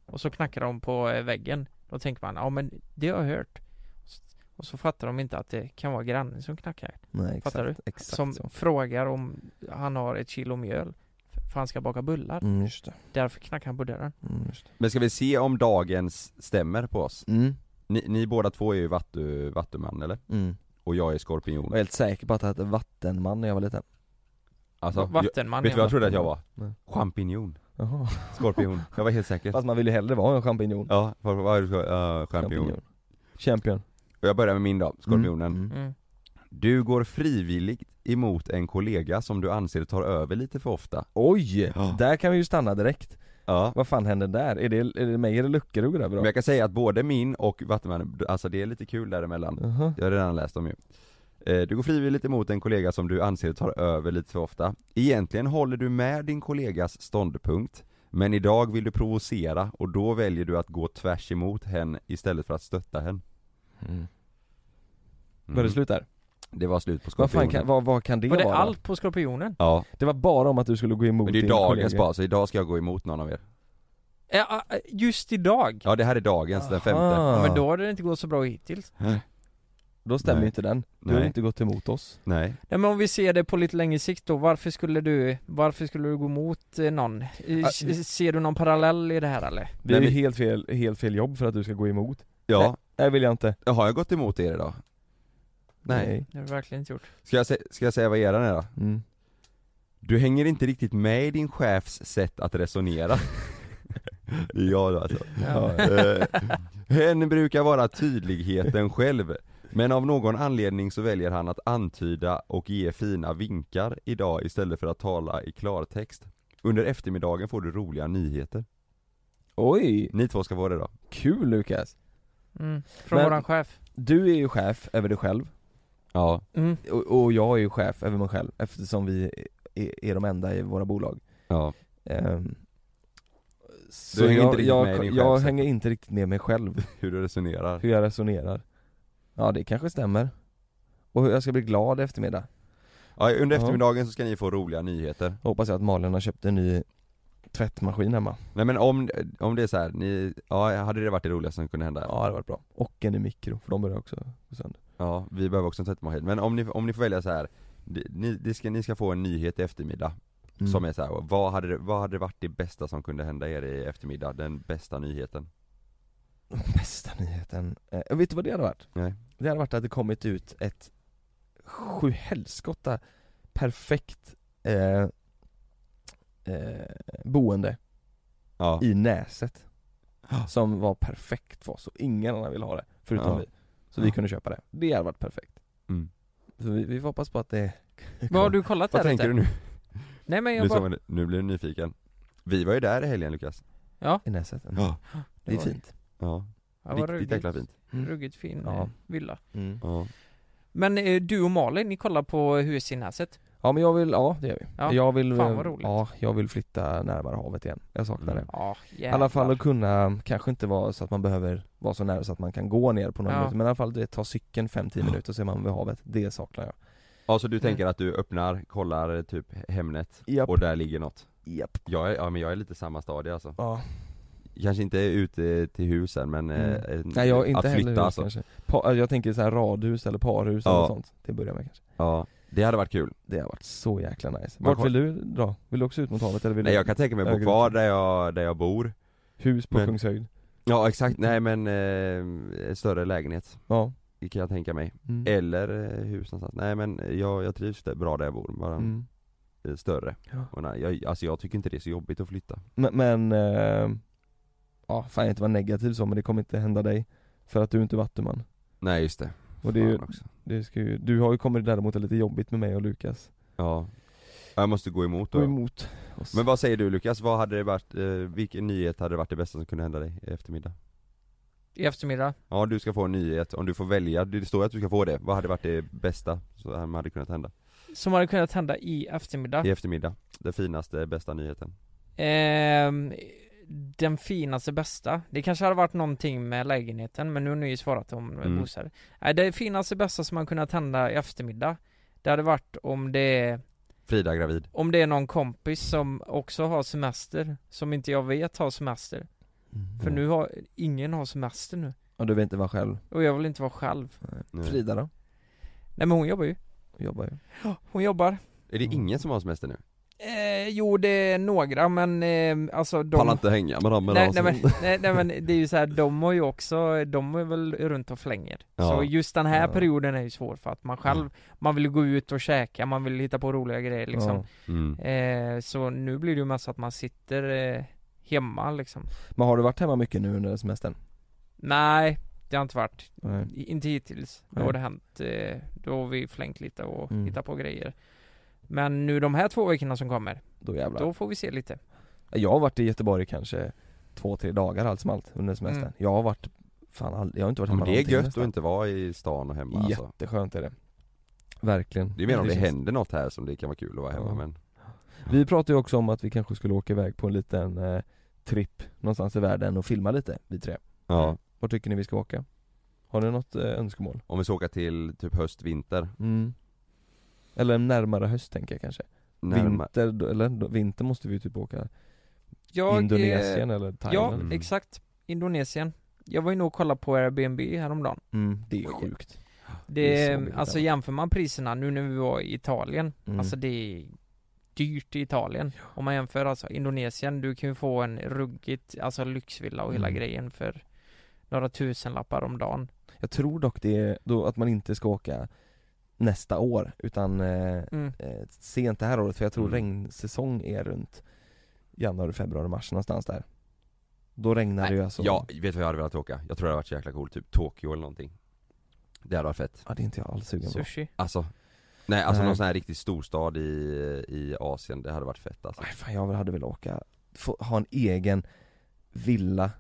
Och så knackar de på eh, väggen. Då tänker man, ja men det har jag hört. Och så fattar de inte att det kan vara grannen som knackar. Nej, exakt, Fattar du? Exakt som så. frågar om han har ett kilo mjöl. För han ska baka bullar. Mm, just det. Därför knackar han på dörren. Mm, just det. Men ska vi se om dagens stämmer på oss? Mm, Ni, ni båda två är ju vattu, vattuman eller? mm. Och jag är Jag skorpion var helt säker på att jag hette vattenman när jag var liten. Alltså, jag, vet Vattenman. du vad jag trodde att jag var? Nej. Champinjon, Jaha. skorpion, jag var helt säker Fast man ville ju hellre vara en champinjon. Ja, vad vad är det för, uh, champinjon? Champion. Och jag börjar med min då, skorpionen Mm. Mm. Du går frivilligt emot en kollega som du anser tar över lite för ofta Oj! Ja. Där kan vi ju stanna direkt. Ja Vad fan händer där? Är det, är det mig eller luckor du går över Men av? jag kan säga att både min och Vattumannen, alltså det är lite kul däremellan Jaha. Jag har redan läst dem ju Eh, du går frivilligt emot en kollega som du anser tar över lite för ofta. Egentligen håller du med din kollegas ståndpunkt, men idag vill du provocera och då väljer du att gå tvärs emot henne istället för att stötta henne. Mm. Var det slut där? Det var slut på Vad, fan skorpionen. kan, vad, vad kan det Var vara? det allt på skorpionen? Ja, Det var bara om att du skulle gå emot men det är din dagens kollega. bara, så idag ska jag gå emot någon av er. Ja, eh, just idag? Ja det här är dagens, den femte. Aha. Men då har det inte gått så bra hittills. Då stämmer Nej. ju inte den. Du har Nej. ju inte gått emot oss. Nej. Nej men om vi ser det på lite längre sikt då, varför skulle du, varför skulle du gå emot eh, någon? Eh, Ah, s- Ser du någon parallell i det här eller? Det är Nej, ju men- helt fel, helt fel jobb för att du ska gå emot. Ja, Det vill jag inte. har jag gått emot er idag? Nej. Det har du verkligen inte gjort. Ska jag, sä- ska jag säga vad eran är då? Mm. Du hänger inte riktigt med i din chefs sätt att resonera Det är jag då alltså Ja. Eh, Hen brukar vara tydligheten själv Men av någon anledning så väljer han att antyda och ge fina vinkar idag istället för att tala i klartext Under eftermiddagen får du roliga nyheter Oj, Ni två ska vara det då kul Lukas. Mm. Från Men- våran chef. Du är ju chef över dig själv Ja, Mm. och, och jag är ju chef över mig själv eftersom vi är, är de enda i våra bolag. ja, Ehm, så hänger jag, inte riktigt jag, med i din jag chefs- hänger inte riktigt med mig själv, hur du resonerar hur jag resonerar. Ja det kanske stämmer. Och hur jag ska bli glad i eftermiddag. ja, Under Ja. eftermiddagen så ska ni få roliga nyheter Hoppas jag att Malin har köpt en ny tvättmaskin hemma. Nej men om, om det är så här, ni, ja hade det varit det roligaste som kunde hända? Ja det hade varit bra. Och en ny mikro, för de börjar också gå sönder. Ja, vi behöver också en tvättmaskin. Men om ni, om ni får välja så här. det- Ni, det ska, ni ska få en nyhet i eftermiddag Mm. som är så här, vad hade, det- vad hade varit det bästa som kunde hända er i eftermiddag? Den bästa nyheten? Bästa nyheten, eh, vet du vad det hade varit? Nej. Det hade varit att det kommit ut ett sjuhelskotta perfekt eh, eh, boende Ja, i Näset Som var perfekt för oss och ingen annan ville ha det, förutom Ja. vi Så vi Ja. kunde köpa det, det hade varit perfekt Mm. Så vi, vi får hoppas på att det Vad har du kollat vad där tänker ute? du nu? Nej men jag Nu, bara... som, nu blir du nyfiken. Vi var ju där i helgen Lukas. i Näset mm. Ja. Det är var- fint Ja, Ja, vad riktigt jäkla fint. Mm. Ruggigt fin Ja. eh, villa. mm. Ja. Men eh, du och Malin, ni kollar på husinäset? Ja men jag vill, ja det gör vi Ja, Jag vill, fan eh, vad roligt. ja jag vill flytta närmare havet igen, jag saknar det Mm. Ja, I alla fall att kunna, kanske inte vara så att man behöver vara så nära så att man kan gå ner på några Ja. minuter Men i alla fall det, ta cykeln 5-10 Ja. minuter så är man vid havet, det saknar jag ja, så Mm. du tänker att du öppnar, kollar eh, typ Hemnet Japp, och där ligger något? japp Jag är, ja men jag är lite samma stadie alltså. ja. Kanske inte ute till husen men eh, Mm. eh, Nej jag är att inte heller flytta hus alltså. kanske pa, Jag tänker så här radhus eller parhus Ja. eller sånt till att börja med kanske Ja, det hade varit kul. Det har varit så jäkla nice Man Vart kom- vill du dra? Vill du också ut mot havet eller vill Nej du jag kan tänka mig att bo Ögrunden. kvar där jag, där jag bor hus på Men- Kungshöjd? Ja exakt, nej men eh, en större lägenhet Ja det kan jag tänka mig. mm. Eller eh, hus någonstans. Nej men jag, jag trivs där, bra där jag bor, bara Mm. eh, större. Ja. Och nej, jag, alltså jag tycker inte det är så jobbigt att flytta. Men, men eh, ja fan jag vill inte vara negativ så men det kommer inte hända dig För att du är inte vattuman Nej just det. Och det är ju, Fan också. det ska ju, du har ju kommit däremot lite jobbigt med mig och Lukas Ja. Ja, Jag måste gå emot Gå då. emot oss. Men vad säger du Lukas, vad hade det varit, eh, vilken nyhet hade varit det bästa som kunde hända dig i eftermiddag? I eftermiddag? Ja du ska få en nyhet, om du får välja, det står ju att du ska få det, vad hade varit det bästa som hade kunnat hända? Som hade kunnat hända i eftermiddag? I eftermiddag, den finaste, bästa nyheten. Ehm, den finaste bästa. Det kanske hade varit någonting med lägenheten men nu har ni ju svarat om Mm. mm. bostäder. Nej, det finaste bästa som man kunnat hända i eftermiddag det hade varit om det, Frida gravid. om det är någon kompis som också har semester, som inte jag vet har semester. För Mm. nu har, ingen har semester nu. Ja, du vill inte vara själv. Och jag vill inte vara själv. Nej. Frida då? Nej men hon jobbar ju. Jobbar ju. Hon jobbar. Är det Mm. ingen som har semester nu? Eh, jo det är några men eh, alltså de... Pallar inte hänga med dem men Nej, alltså. nej, men, nej, nej men det är ju så här, de har ju också, de är väl runt och flänger. Ja. Så just den här Ja. Mm. perioden är ju svår för att man själv, man vill ju gå ut och käka, man vill hitta på roliga grejer liksom. mm. Eh, så nu blir det ju mest att man sitter eh, hemma liksom. Men har du varit hemma mycket nu under semestern? Nej, det har inte varit, Nej. I- inte hittills. Då Nej. har det hänt, eh, då har vi flängt lite och Mm. hittat på grejer. Men nu de här två veckorna som kommer, Då jävlar. då får vi se lite. Jag har varit i Göteborg kanske två, tre dagar allt som allt under semestern. Mm. Jag har varit, fan all, jag har inte varit Ja, hemma men det är någonting gött nästan. att inte vara i stan och hemma alltså. Jätteskönt är det. Verkligen. Det är mer om det, känns- händer något här som det kan vara kul att vara hemma Ja. men Vi pratade ju också om att vi kanske skulle åka iväg på en liten eh, tripp någonstans i världen och filma lite, vi tre. Ja, Vart tycker ni vi ska åka? Har ni något eh, önskemål? om vi ska åka till typ höst, vinter Mm. Eller närmare höst tänker jag kanske. närma- Vinter, då- eller då- vinter måste vi ju typ åka Jag, eh, Indonesien eller Ja, Thailand? Mm. exakt. Indonesien. Jag var ju nog och kollade på Airbnb häromdagen. Mm, det är sjukt. Det Det, är så mycket alltså annat. jämför man priserna nu när vi var i Italien, Mm. alltså det är dyrt i Italien. Om man jämför alltså Indonesien, du kan ju få en ruggigt, alltså lyxvilla och hela Mm. grejen för några tusenlappar om dagen. Jag tror dock det är då att man inte ska åka nästa år utan eh, Mm. eh, sent det här året för jag tror Mm. regnsäsong är runt januari, februari, mars någonstans där. Då regnar det ju alltså. Ja, vet du vad jag hade velat åka? Jag tror det hade varit så jäkla coolt, typ Tokyo eller någonting Det hade varit fett, Ja, det är inte jag alls sugen på. Mm. Sushi. alltså Nej alltså Nej. någon sån här riktig storstad i, i Asien, det hade varit fett alltså Nej, fan, jag hade velat åka, få, ha en egen villa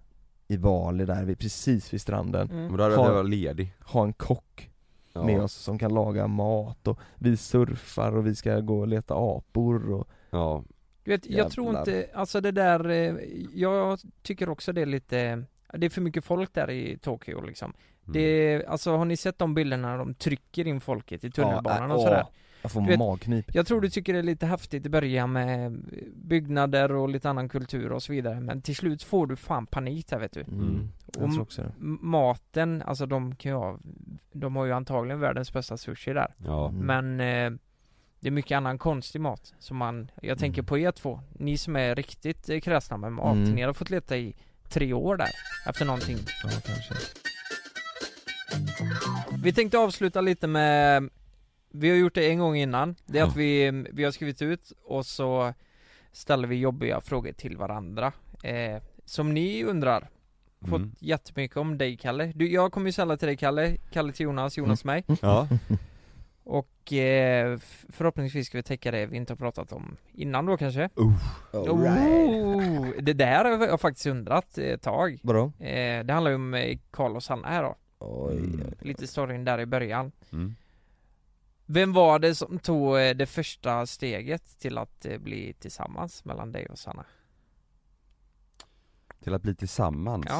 i Bali där, vid, precis vid stranden. Mm. Men då hade Har- jag varit ledig Ha en kock ja. med oss som kan laga mat och vi surfar och vi ska gå och leta apor och Ja, Du vet, jag tror Jävlar. inte, alltså det där, eh, jag tycker också det är lite, det är för mycket folk där i Tokyo liksom. Det, alltså har ni sett de bilderna när de trycker in folket i tunnelbanan Mm. Ja, och äh, sådär? åh, Jag får Du vet- magknip. Jag tror du tycker det är lite häftigt i början med eh, byggnader och lite annan kultur och så vidare men till slut får du fan panik där vet du. Mm. Jag Om- tror också det. M- Maten, alltså de kan ju ha, de har ju antagligen världens bästa sushi där. ja, Mm. Men eh, det är mycket annan konstig mat som man, jag tänker på er två, ni som är riktigt eh, kräsna med mat, Mm. ni har fått leta i tre år där efter någonting. Ja, kanske. Vi tänkte avsluta lite med Vi har gjort det en gång innan Det är att vi, vi har skrivit ut och så ställer vi jobbiga frågor till varandra eh, Som ni undrar Fått mm. jättemycket om dig Kalle du, Jag kommer ju ställa till dig Kalle, Kalle till Jonas, Jonas till mig ja. Och eh, f- förhoppningsvis ska vi täcka det vi inte har pratat om innan då kanske oh, Det där har jag faktiskt undrat eh, ett tag Vadå? eh, Det handlar ju om eh, Karl och Sanna här då Oj. Lite storyn där i början Mm. Vem var det som tog eh, det första steget till att eh, bli tillsammans mellan dig och Sanna? Till att bli tillsammans Eh,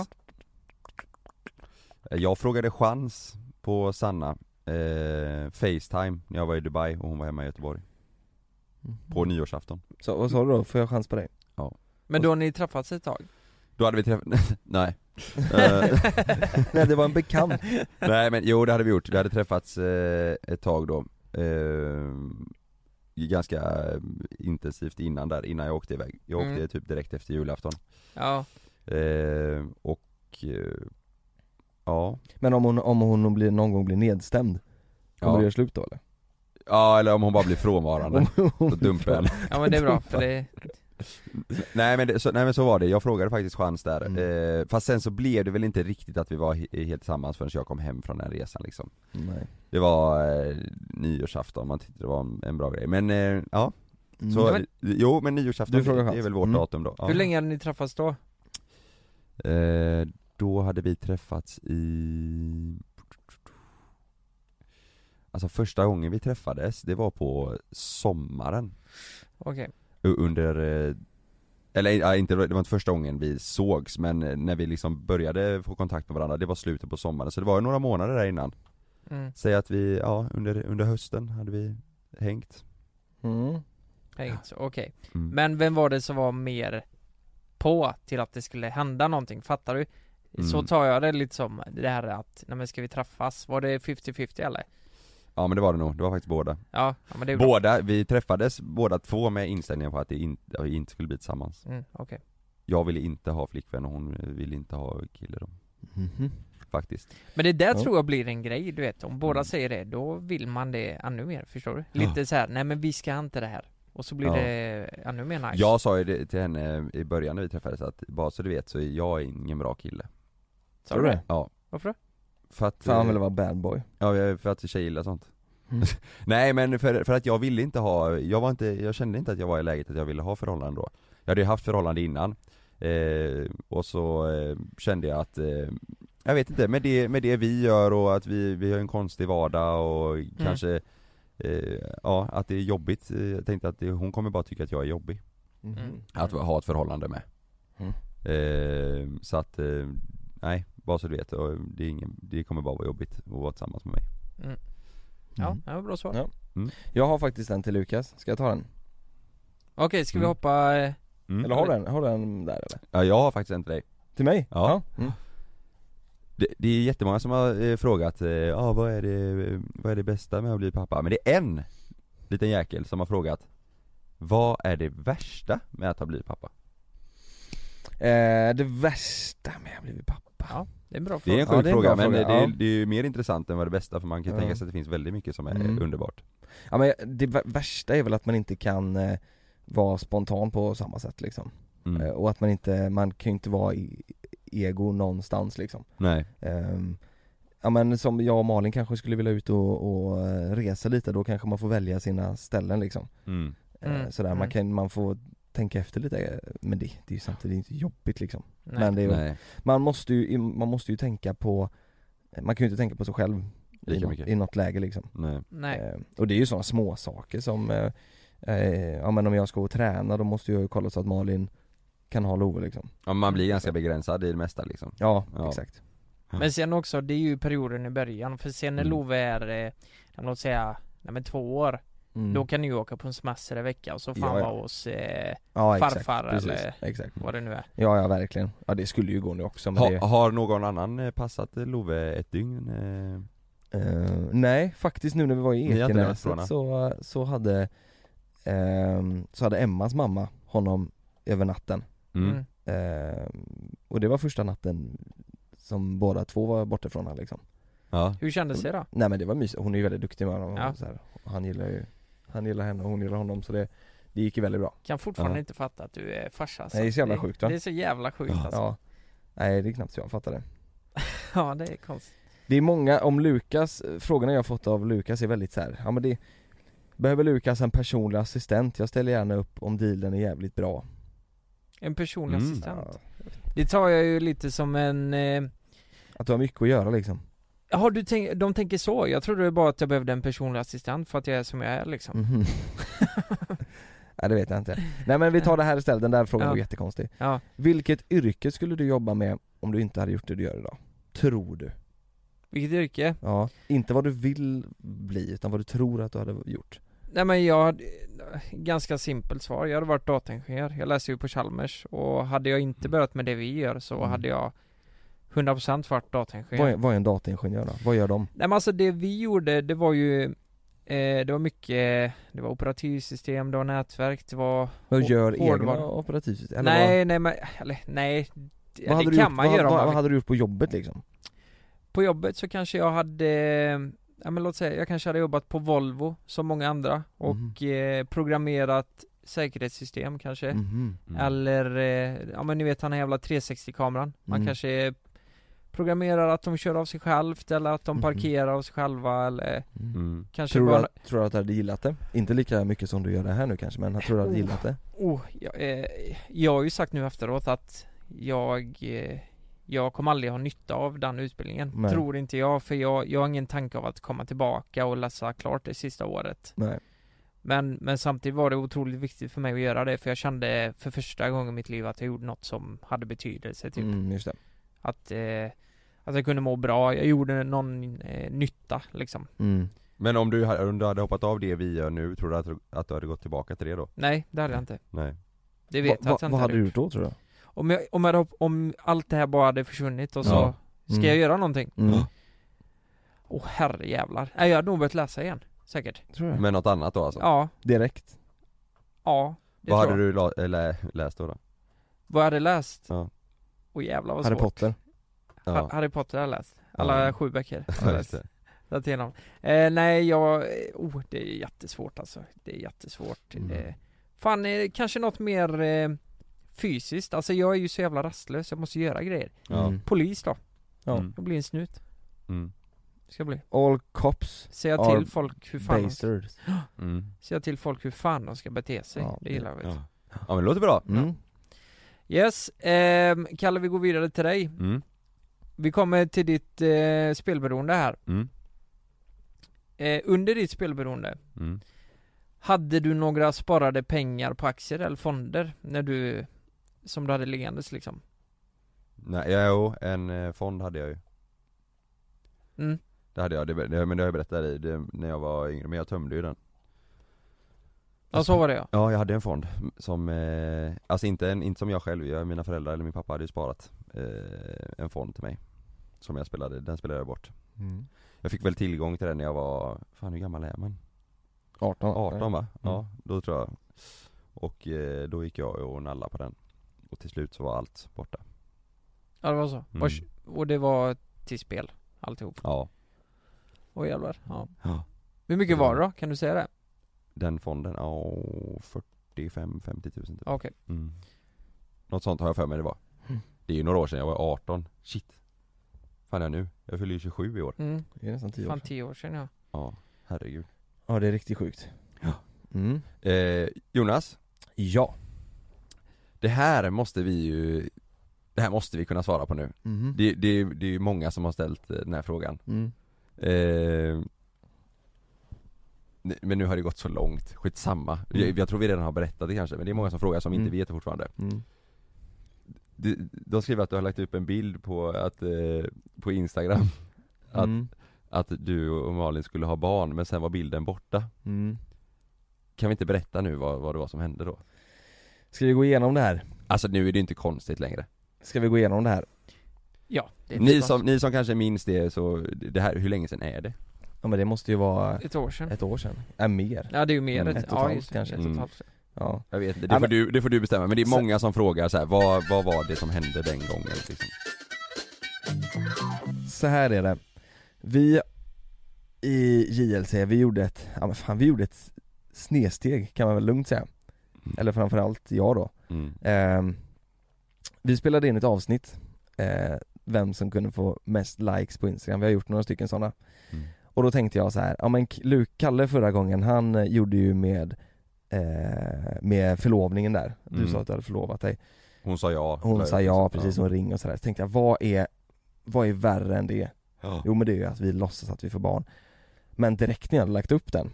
Ja. Jag frågade chans på Sanna eh, Facetime när jag var i Dubai och hon var hemma i Göteborg På Mm. nyårsafton Mm. Så, vad sa du då? Får jag chans på dig? Men då har ni träffats ett tag? Då hade vi träffat, nej Eh, Nej det var en bekant. Nej men jo det hade vi gjort, vi hade träffats eh, ett tag då eh, Ganska eh, intensivt innan där, innan jag åkte iväg Jag åkte Mm. typ direkt efter julafton Ja, eh, Och eh, Ja Men om hon, om hon blir, någon gång blir nedstämd, kommer du ja. göra slut då eller? ja eller om hon bara blir frånvarande Om hon Då dumpar jag henne. ja men det är bra för det nej, men det, så, nej men så var det, jag frågade faktiskt chans där Mm. eh, Fast sen så blev det väl inte riktigt att vi var he- helt tillsammans förrän jag kom hem från den resan liksom Nej. Det var eh, nyårsafton, man tyckte det var en, en bra grej men eh, ja Mm. Så, Men- jo men nyårsafton, Du frågar det är chans. väl vårt Mm. datum då? Ja. Hur länge hade ni träffats då? Eh, då hade vi träffats i... Alltså första gången vi träffades, det var på sommaren Okej, U- Under... eh, Eller ja, inte, det var inte första gången vi sågs men eh, när vi liksom började få kontakt med varandra, det var slutet på sommaren så det var ju några månader där innan mm, Säg att vi, ja under, under hösten hade vi hängt Mm. hängt, okej Mm. Men vem var det som var mer på till att det skulle hända någonting, fattar du? Så Mm. tar jag det lite som det här att, nej men ska vi träffas? Var det 50-50 eller? Ja men det var det nog, det var faktiskt båda Ja, ja men det är bra Båda, vi träffades båda två med inställningen på att det inte, att vi inte skulle bli tillsammans mm, Okej, Jag ville inte ha flickvän och hon ville inte ha kille då, Mhm. faktiskt men det där Ja. tror jag blir en grej du vet, om båda Mm. säger det då vill man det ännu mer, förstår du? Ja. Lite så här, nej men vi ska inte det här Och så blir Ja. det ännu mer nice Jag sa ju det till henne i början när vi träffades att, bara så du vet så är jag ingen bra kille Sa du det? Ja Varför då? För att, Fan han ville eh, vara bad boy. ja, jag- för att tjejer gillar sånt Mm. Nej men för, för att jag ville inte ha, jag var inte, jag kände inte att jag var i läget att jag ville ha förhållanden då Jag hade ju haft förhållande innan eh, Och så eh, kände jag att eh, Jag vet inte, med det, med det vi gör och att vi, vi har en konstig vardag och kanske eh, Ja, att det är jobbigt, Eh, jag tänkte att det, hon kommer bara tycka att jag är jobbig Mhm. Att Mm. ha ett förhållande med Mm. eh, Så att, eh, nej, bara så du vet, Och det, är ingen, det kommer bara vara jobbigt att vara tillsammans med mig Ja, Mm. det var bra svar Ja. Jag har faktiskt en till Lukas, ska jag ta den? Okej, ska vi Mm. hoppa eh, Mm. Eller har du en, har du en där eller? Ja, jag har faktiskt en till dig. Till mig? Ja. Mm. Det, det är jättemånga som har eh, frågat, eh, ah, vad, är det, vad är det bästa med att bli pappa? Men det är en liten jäkel som har frågat Vad är det värsta med att ha blivit pappa? Eh, det värsta med att bli pappa? Ja. Det är en bra Det är fråga. Ja, en sjuk det är en bra fråga men fråga, det, är, ja. det är ju mer intressant än vad det bästa för man kan Ja. tänka sig att det finns väldigt mycket som är Mm. eh, underbart men det vä- värsta är väl att man inte kan eh, vara spontan på samma sätt liksom. mm. Eh, och att man inte, man kan ju inte vara i, ego någonstans liksom. Nej, Ehm, Ja men som jag och Malin kanske skulle vilja ut och, och eh, resa lite, då kanske man får välja sina ställen liksom mm. Eh, Mm, Sådär, man mm. kan, man får tänka efter lite eh, Men det, det är ju samtidigt inte jobbigt liksom Nej. Men det är, ju- Nej. man måste ju, man måste ju tänka på Man kan ju inte tänka på sig själv i Lika något, mycket. i något läge liksom Nej. Nej. Eh, Och det är ju sådana små saker som eh, eh, Ja men om jag ska gå och träna då måste jag ju kolla så att Malin kan ha Love liksom Ja, man blir ganska begränsad i det mesta liksom Ja, Ja. exakt Men sen också, det är ju perioden i början. För sen när Mm. Love är, eh, ja, låt säga, nej men två år. Mm. Då kan ni ju åka på en semester i veckan och så får Ja, han ja. vara hos eh, ja, farfar precis, eller- Exakt vad det nu är. Ja, ja verkligen. Ja det skulle ju gå nu också men ha, det, Har någon annan eh, passat eh, Love ett dygn? Eh, eh, Nej, faktiskt nu när vi var i Ni har inte läst Ekenäset frågorna? så, så hade ehm, Så hade Emmas mamma honom över natten mm. Mm. Ehm, Och det var första natten som båda två var borta från honom liksom Ja, Hur kändes det då? Nej men det var mysigt, hon är ju väldigt duktig med honom Ja. och så här. Och Han gillar ju Han gillar henne och hon gillar honom så det, det gick ju väldigt bra Kan fortfarande Ja. inte fatta att du är farsa alltså. Nej, det är så jävla sjukt, va? Det är så jävla sjukt Ja. alltså. Ja Nej det är knappt så jag fattar det Ja det är konstigt. Det är många om Lukas, frågorna jag har fått av Lukas är väldigt så här, ja men det Behöver Lukas en personlig assistent? Jag ställer gärna upp om dealen är jävligt bra En personlig Mm. assistent. Ja, Det tar jag ju lite som en... Eh, Att du har mycket att göra liksom har du tänkt, de tänker så? Jag trodde bara att jag behövde en personlig assistent för att jag är som jag är liksom. Mhm. Nej det vet jag inte Nej men vi tar det här istället, den där frågan Ja. var jättekonstig Ja. Vilket yrke skulle du jobba med om du inte hade gjort det du gör idag? Tror du? Vilket yrke? Ja, inte vad du vill bli utan vad du tror att du hade gjort Nej men jag hade, ganska simpelt svar. Jag hade varit dataingenjör. Jag läste ju på Chalmers och hade jag inte börjat med det vi gör så Mm. hade jag 100% varit dataingenjör. vad är, vad är en dataingenjör då? Vad gör de? Nej men alltså det vi gjorde, det var ju eh, Det var mycket, det var operativsystem, det var nätverk, det var Vad Hår- gör hårdvara. egna operativsystem? Eller Nej nej men, eller nej Det, vad, vad hade det du kan gjort, man vad, göra om vad, man vad vill. hade du gjort på jobbet liksom? På jobbet så kanske jag hade eh, Ja men låt säga, jag kanske hade jobbat på Volvo som många Mhm. andra och eh, programmerat säkerhetssystem kanske Mhm. mm. Eller, eh, ja men ni vet den här jävla 360-kameran Man Mm. kanske programmerar att de kör av sig självt eller att de Mhm. parkerar av sig själva eller Mm. kanske Tror, du bara att, tror du att du hade gillat det? Inte lika mycket som du gör det här nu kanske men jag tror du hade Oh. gillat det? Oh, jag, eh, jag har ju sagt nu efteråt att jag, eh, jag kommer aldrig ha nytta av den utbildningen. Nej. Tror inte jag, för jag, jag har ingen tanke av att komma tillbaka och läsa klart det sista året. Nej. Men, men samtidigt var det otroligt viktigt för mig att göra det, för jag kände för första gången i mitt liv att jag gjorde något som hade betydelse, typ. Mm, just det. Att, eh, att jag kunde må bra, jag gjorde någon eh, nytta liksom. Mm. Men om du, hade- om du hade hoppat av det vi gör nu, tror du att, du- att du hade gått tillbaka till det då? Nej, det hade jag inte. Nej Det vet Va, jag va, att jag inte vad hade du gjort då tror du? Om, jag, om, jag, hade hopp- om allt det här bara hade försvunnit och så, Ja. ska Mm. jag göra någonting? Mm. Åh herrejävlar. Nej jag hade nog börjat läsa igen. Säkert. Tror Men något annat då alltså? Ja, Direkt? ja. Det Vad tror hade jag. du la- eh, lä- läst då? då? Vad jag hade läst? Ja. Åh jävlar vad Harry svårt. Potter? Ha- Ja, Harry Potter har jag läst. Alla Ja. sju böcker. har jag ja just läst. det. Läst igenom. Eh, nej jag, oh det är jättesvårt alltså. Det är jättesvårt. Mm. Eh, fan, eh, kanske något mer eh, fysiskt. Alltså jag är ju så jävla rastlös, jag måste göra grejer. Ja. Mm. Polis då. Ja. Mm. Jag blir en snut. Mm. Ska jag bli. All cops Säga Are till folk hur fan de ska, bastards Mm. säga till folk hur fan de ska bete sig. Ja, det det- gillar jag. vet du. Ja. ja men det låter bra. mm. Yes, ehm, Kalle vi går vidare till dig. Mm. Vi kommer till ditt eh, spelberoende här. Mm. Eh, under ditt spelberoende, Mm. hade du några sparade pengar på aktier eller fonder när du, som du hade liggandes liksom? Nej, ja, jo, en eh, fond hade jag ju. Mm. Det hade jag, det, det, men det har jag berättat i det, när jag var yngre, men jag tömde ju den. Ja så var det ja. Ja, jag hade en fond som, eh, alltså inte, en, inte som jag själv gör, mina föräldrar eller min pappa hade ju sparat eh, en fond till mig Som jag spelade, den spelade jag bort Mm. Jag fick väl tillgång till den när jag var, fan hur gammal är man? 18 18 va? Ja, Mm. då tror jag Och eh, då gick jag och nallade på den Och till slut så var allt borta Ja det var så. Mm. Och, och det var till spel, alltihop. Ja, Åh jävlar. Ja. Ja. Hur mycket var det då? Kan du säga det? den fonden, ja 45-50 tusen typ Ja, Okej. mm. Något sånt har jag för mig det var Det är ju några år sedan, jag var 18, shit Fan är jag nu? Jag fyller ju 27 i år Mm. Det är nästan 10 år Fan sedan. tio år sedan ja. Ja, herregud Ja det är riktigt sjukt Ja. mm. eh, Jonas, Ja det här måste vi ju Det här måste vi kunna svara på nu mm. Det, det, det är ju många som har ställt eh, den här frågan Mm. eh, ne- Men nu har det gått så långt, skitsamma jag, jag tror vi redan har berättat det kanske, men det är många som frågar som inte Mm. vet det fortfarande Mm. de, de skriver att du har lagt upp en bild på att, eh, på instagram Att- Mm. Att du och Malin skulle ha barn, men sen var bilden borta Mm. Kan vi inte berätta nu vad, vad det var som hände då? Ska vi gå igenom det här? Alltså nu är det inte konstigt längre Ska vi gå igenom det här? Ja. Det är Ni ett- som, ni som kanske minns det så, det här, hur länge sedan är det? Ja men det måste ju vara Ett år sedan. ett år sedan, äh, mer Ja det är ju mer Mm. Ett ett, och ett ja, halvt just, det. kanske. Ett och ett Mm. halvt. Ja, Jag vet inte, Ja, det, får men- du, det får du bestämma men det är Så- många som frågar så här, vad, vad var det som hände den gången liksom? så här är det Vi i JLC, vi gjorde ett, ja men fan vi gjorde ett snedsteg kan man väl lugnt säga Mm. Eller framförallt jag då Mm. Ehm, Vi spelade in ett avsnitt eh, Vem som kunde få mest likes på Instagram, vi har gjort några stycken sådana Mm. Och då tänkte jag så här, ja men K- Luke, Kalle förra gången han eh, gjorde ju med eh, Med förlovningen där, du Mm. sa att du hade förlovat dig Hon sa ja Hon sa ja precis, ja. hon ringde och sådär, så tänkte jag vad är Vad är värre än det? Ja. Jo men det är ju att vi låtsas att vi får barn Men direkt när jag hade lagt upp den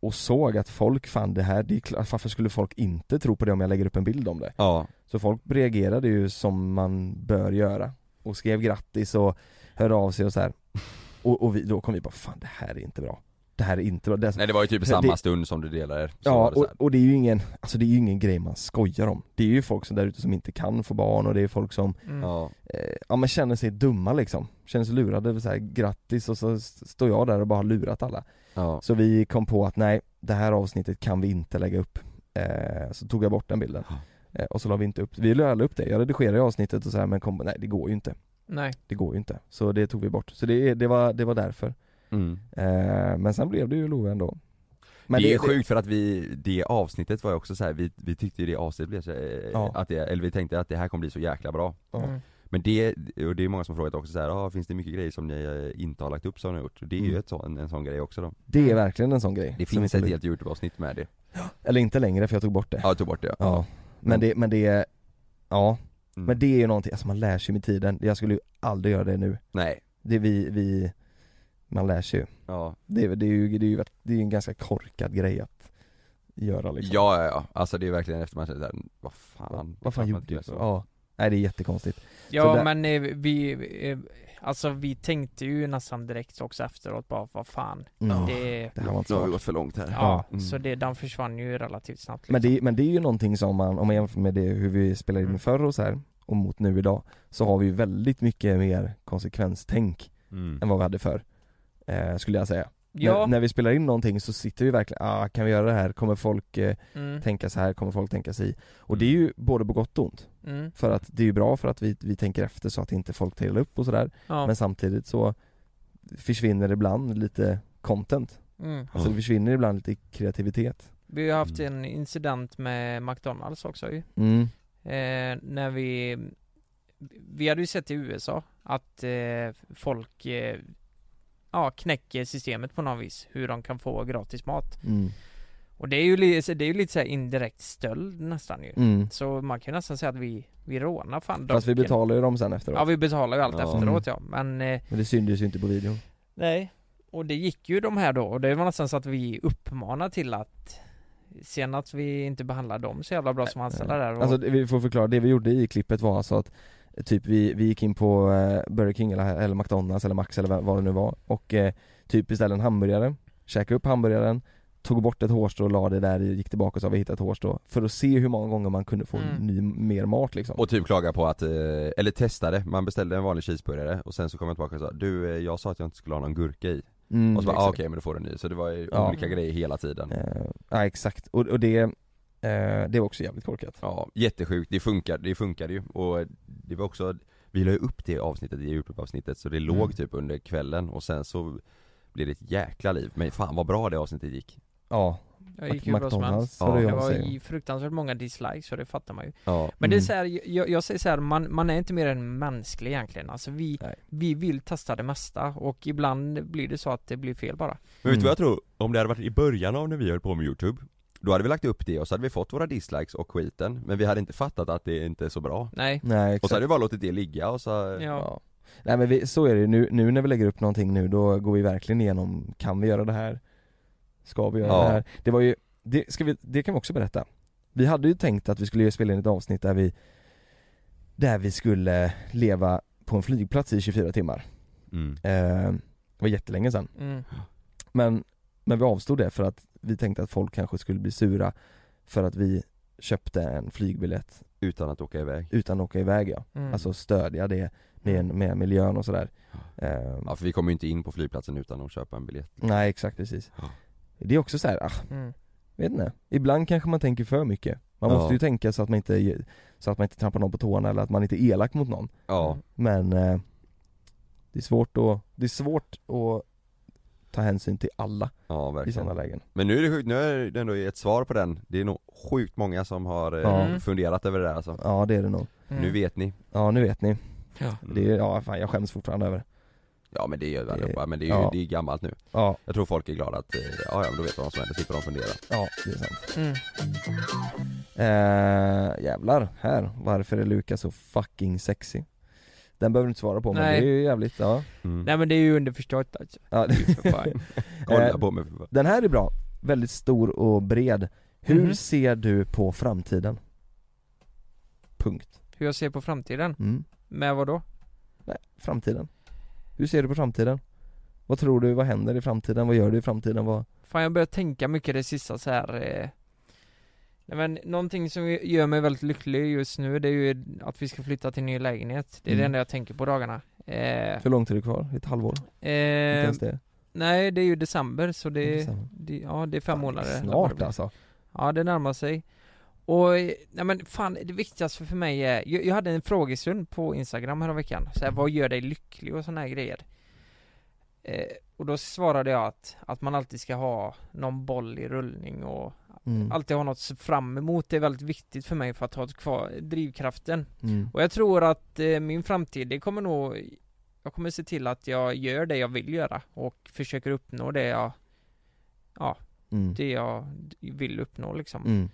och såg att folk fann det här, det är klart, varför skulle folk inte tro på det om jag lägger upp en bild om det? ja, Så folk reagerade ju som man bör göra och skrev grattis och hörde av sig och så här. Och, och vi, då kom vi bara, fan det här är inte bra Det här är inte bra, det nej det var ju typ Det- samma stund som du delade så Ja, var det så och, här. och det är ju ingen, alltså det är ju ingen grej man skojar om Det är ju folk som där ute som inte kan få barn och det är folk som, Mm. ja. eh, ja men känner sig dumma liksom Känner sig lurade, så här, grattis och så s- står jag där och bara har lurat alla Ja. Så vi kom på att nej, det här avsnittet kan vi inte lägga upp eh, Så tog jag bort den bilden Ja. eh, Och så la vi inte upp, vi la aldrig upp det, jag redigerade avsnittet och så här, men kom, nej det går ju inte Nej. Det går ju inte, så det tog vi bort, så det, det, var, det var därför Mm. eh, Men sen blev det ju Love ändå men det är sjukt för att vi, det avsnittet var ju också så här, vi, vi tyckte ju det avsnittet blev så, eh, Ja. att det, eller vi tänkte att det här kommer bli så jäkla bra Ja. Mm. Men det, och det är många som frågat också så här, ah, finns det mycket grejer som ni eh, inte har lagt upp som ni har gjort? Och det är ju Mm. ett så, en, en sån grej också då Det är verkligen en sån grej Det som finns inte ett blir- helt youtube-avsnitt med det Eller inte längre för jag tog bort det Ja, jag tog bort det ja, Ja, men det, men det, ja, Mm. men det är ju någonting, alltså man lär sig med tiden, jag skulle ju aldrig göra det nu Nej, Det vi, vi, man lär sig ju ja Det, är- det är ju, det är ju, det är ju en ganska korkad grej att göra liksom Ja, ja, ja. Alltså det är verkligen efter man säger såhär, vad fan Vad fan Det är klart man gjorde inte gör jag? så. Ja, nej det är jättekonstigt Ja där- men eh, vi, eh, alltså vi tänkte ju nästan direkt också efteråt bara vad fan. Mm. Det, Det här var inte Nu har vi smart gått för långt här ja. Mm. Så det, den försvann ju relativt snabbt. men det, men det är ju någonting som man, om man jämför med det hur vi spelade in Mm. förr och så här och mot nu idag Så har vi ju väldigt mycket mer konsekvenstänk Mm. än vad vi hade förr eh, Skulle jag säga Ja. när, när vi spelar in någonting så sitter vi verkligen, ah kan vi göra det här? Kommer folk eh, Mm. tänka så här? Kommer folk tänka sig? Och det är ju både på gott och ont Mm. För att det är ju bra för att vi, vi tänker efter så att inte folk delar upp och sådär Ja. Men samtidigt så försvinner ibland lite content Mm. Alltså det försvinner ibland lite kreativitet Vi har ju haft en incident med McDonalds också ju. mm. Eh, när vi Vi hade ju sett i USA att eh, folk eh, Ja, knäcker systemet på något vis hur de kan få gratis mat. Mm. Och det är ju, li- det är ju lite så här indirekt stöld nästan ju. Mm. Så man kan ju nästan säga att vi, vi rånar fan Fast vi Donken. betalar ju Mm. dem sen Ja efteråt vi betalar ju allt Ja. efteråt ja, men eh, Men det syndes ju inte på videon Nej Och det gick ju de här då, och det var nästan så att vi uppmanade till att Sen att vi inte behandlar dem så jävla bra som anställda där och, Alltså det- vi får förklara, det vi gjorde i klippet var alltså att eh, Typ vi, vi gick in på eh, Burger King eller, eller McDonalds eller Max eller vad- vad det nu var och eh, typ beställde en hamburgare Käkade upp hamburgaren tog bort ett hårstrå och la det där, gick tillbaka och sa vi hittat ett hårstrå För att se hur många gånger man kunde få Mm. ny, mer mat liksom Och typ klaga på att, eh, eller testade, man beställde en vanlig cheeseburgare och sen så kom jag tillbaka och sa du, eh, jag sa att jag inte skulle ha någon gurka i Mm, Och så bara, ah, exakt. okej men då får du en ny, så det var ju Ja. olika grejer hela tiden Eh, Ja exakt, och, och det, eh, det var också jävligt korkat Ja, jättesjukt, det funkade, det funkade ju och det var också Vi la ju upp det avsnittet i Youtube-avsnittet så det Mm. låg typ under kvällen och sen så blev det ett jäkla liv, men fan vad bra det avsnittet gick Ja, Jag gick ju bra som McDonalds helst. var det Ja. Det jag var säger. ju fruktansvärt många dislikes så det fattar man ju Ja, Men det är Mm. så här, jag, jag säger så här, man, man är inte mer än mänsklig egentligen Alltså vi, Nej. vi vill testa det mesta och ibland blir det så att det blir fel bara men vet du Mm. vad jag tror? Om det hade varit i början av när vi höll på med Youtube Då hade vi lagt upp det och så hade vi fått våra dislikes och skiten, men vi hade inte fattat att det inte är så bra Nej, Nej exakt Och så hade vi bara låtit det ligga och så, ja, Ja. Nej men vi, så är det ju, nu, nu när vi lägger upp någonting nu då går vi verkligen igenom, kan vi göra det här? Ska vi göra Ja. det här? Det var ju, det, ska vi, det kan vi också berätta Vi hade ju tänkt att vi skulle spela in ett avsnitt där vi Där vi skulle leva på en flygplats i 24 timmar mm. eh, Det var jättelänge sedan mm. men, men vi avstod det för att vi tänkte att folk kanske skulle bli sura För att vi köpte en flygbiljett utan att åka iväg utan att åka iväg ja Mm. Alltså stödja det med, med miljön och sådär eh, Ja för vi kommer ju inte in på flygplatsen utan att köpa en biljett Nej exakt precis Ja. Det är också så här, ah, mm. vet inte Ibland kanske man tänker för mycket Man Ja. måste ju tänka så att man inte ge- Så att man inte trampar någon på tårna eller att man inte är elak mot någon Ja, Men eh, Det är svårt att, det är svårt att Ta hänsyn till alla ja i sådana verkligen lägen Men nu är det sjukt, nu är det ändå ett svar på den Det är nog sjukt många som har eh, Ja. funderat över det där alltså. Ja det är det nog Mm. Nu vet ni Ja nu vet ni ja. Mm. Det är, ja fan jag skäms fortfarande över det. Ja men det gör vi Det- allihopa, men det är ju ja. det är gammalt nu Ja, Jag tror folk är glada att, eh, ja ja men då vet de vad som händer, slipper de fundera ja det är sant Mm. eh, Jävlar, här, varför är Lukas så fucking sexy? Den behöver du inte svara på men Nej. det är ju jävligt, ja, mm. Nej men det är ju underförstått alltså. ja För fan. Kolla eh, på mig för fan. Den här är bra, väldigt stor och bred Hur Mhm. ser du på framtiden? Punkt Hur jag ser på framtiden, mm. med vad då? Nej, framtiden Hur ser du på framtiden? Vad tror du, vad händer i framtiden? Vad gör du i framtiden? Vad... Fan jag börjar tänka mycket det sista så här. Eh... Nej men någonting som gör mig väldigt lycklig just nu det är ju att vi ska flytta till en ny lägenhet Det är det Mm. enda jag tänker på dagarna eh... Hur långt är det kvar? Ett halvår? Inte Eh... ens det? Nej det är ju december så det är, Fan, det, ja det är fem det är månader Snart alltså Ja det närmar sig och, eh, nej men fan det viktigaste för mig är, jag, jag hade en frågestund på instagram härom veckan, så här, vad gör dig lycklig och sådana här grejer eh, Och då svarade jag att, att man alltid ska ha någon boll i rullning och mm. alltid ha något att se fram emot, det är väldigt viktigt för mig för att ha kvar drivkraften Mm. Och jag tror att eh, min framtid, det kommer nog, jag kommer se till att jag gör det jag vill göra och försöker uppnå det jag, Mm. det jag vill uppnå liksom Mm.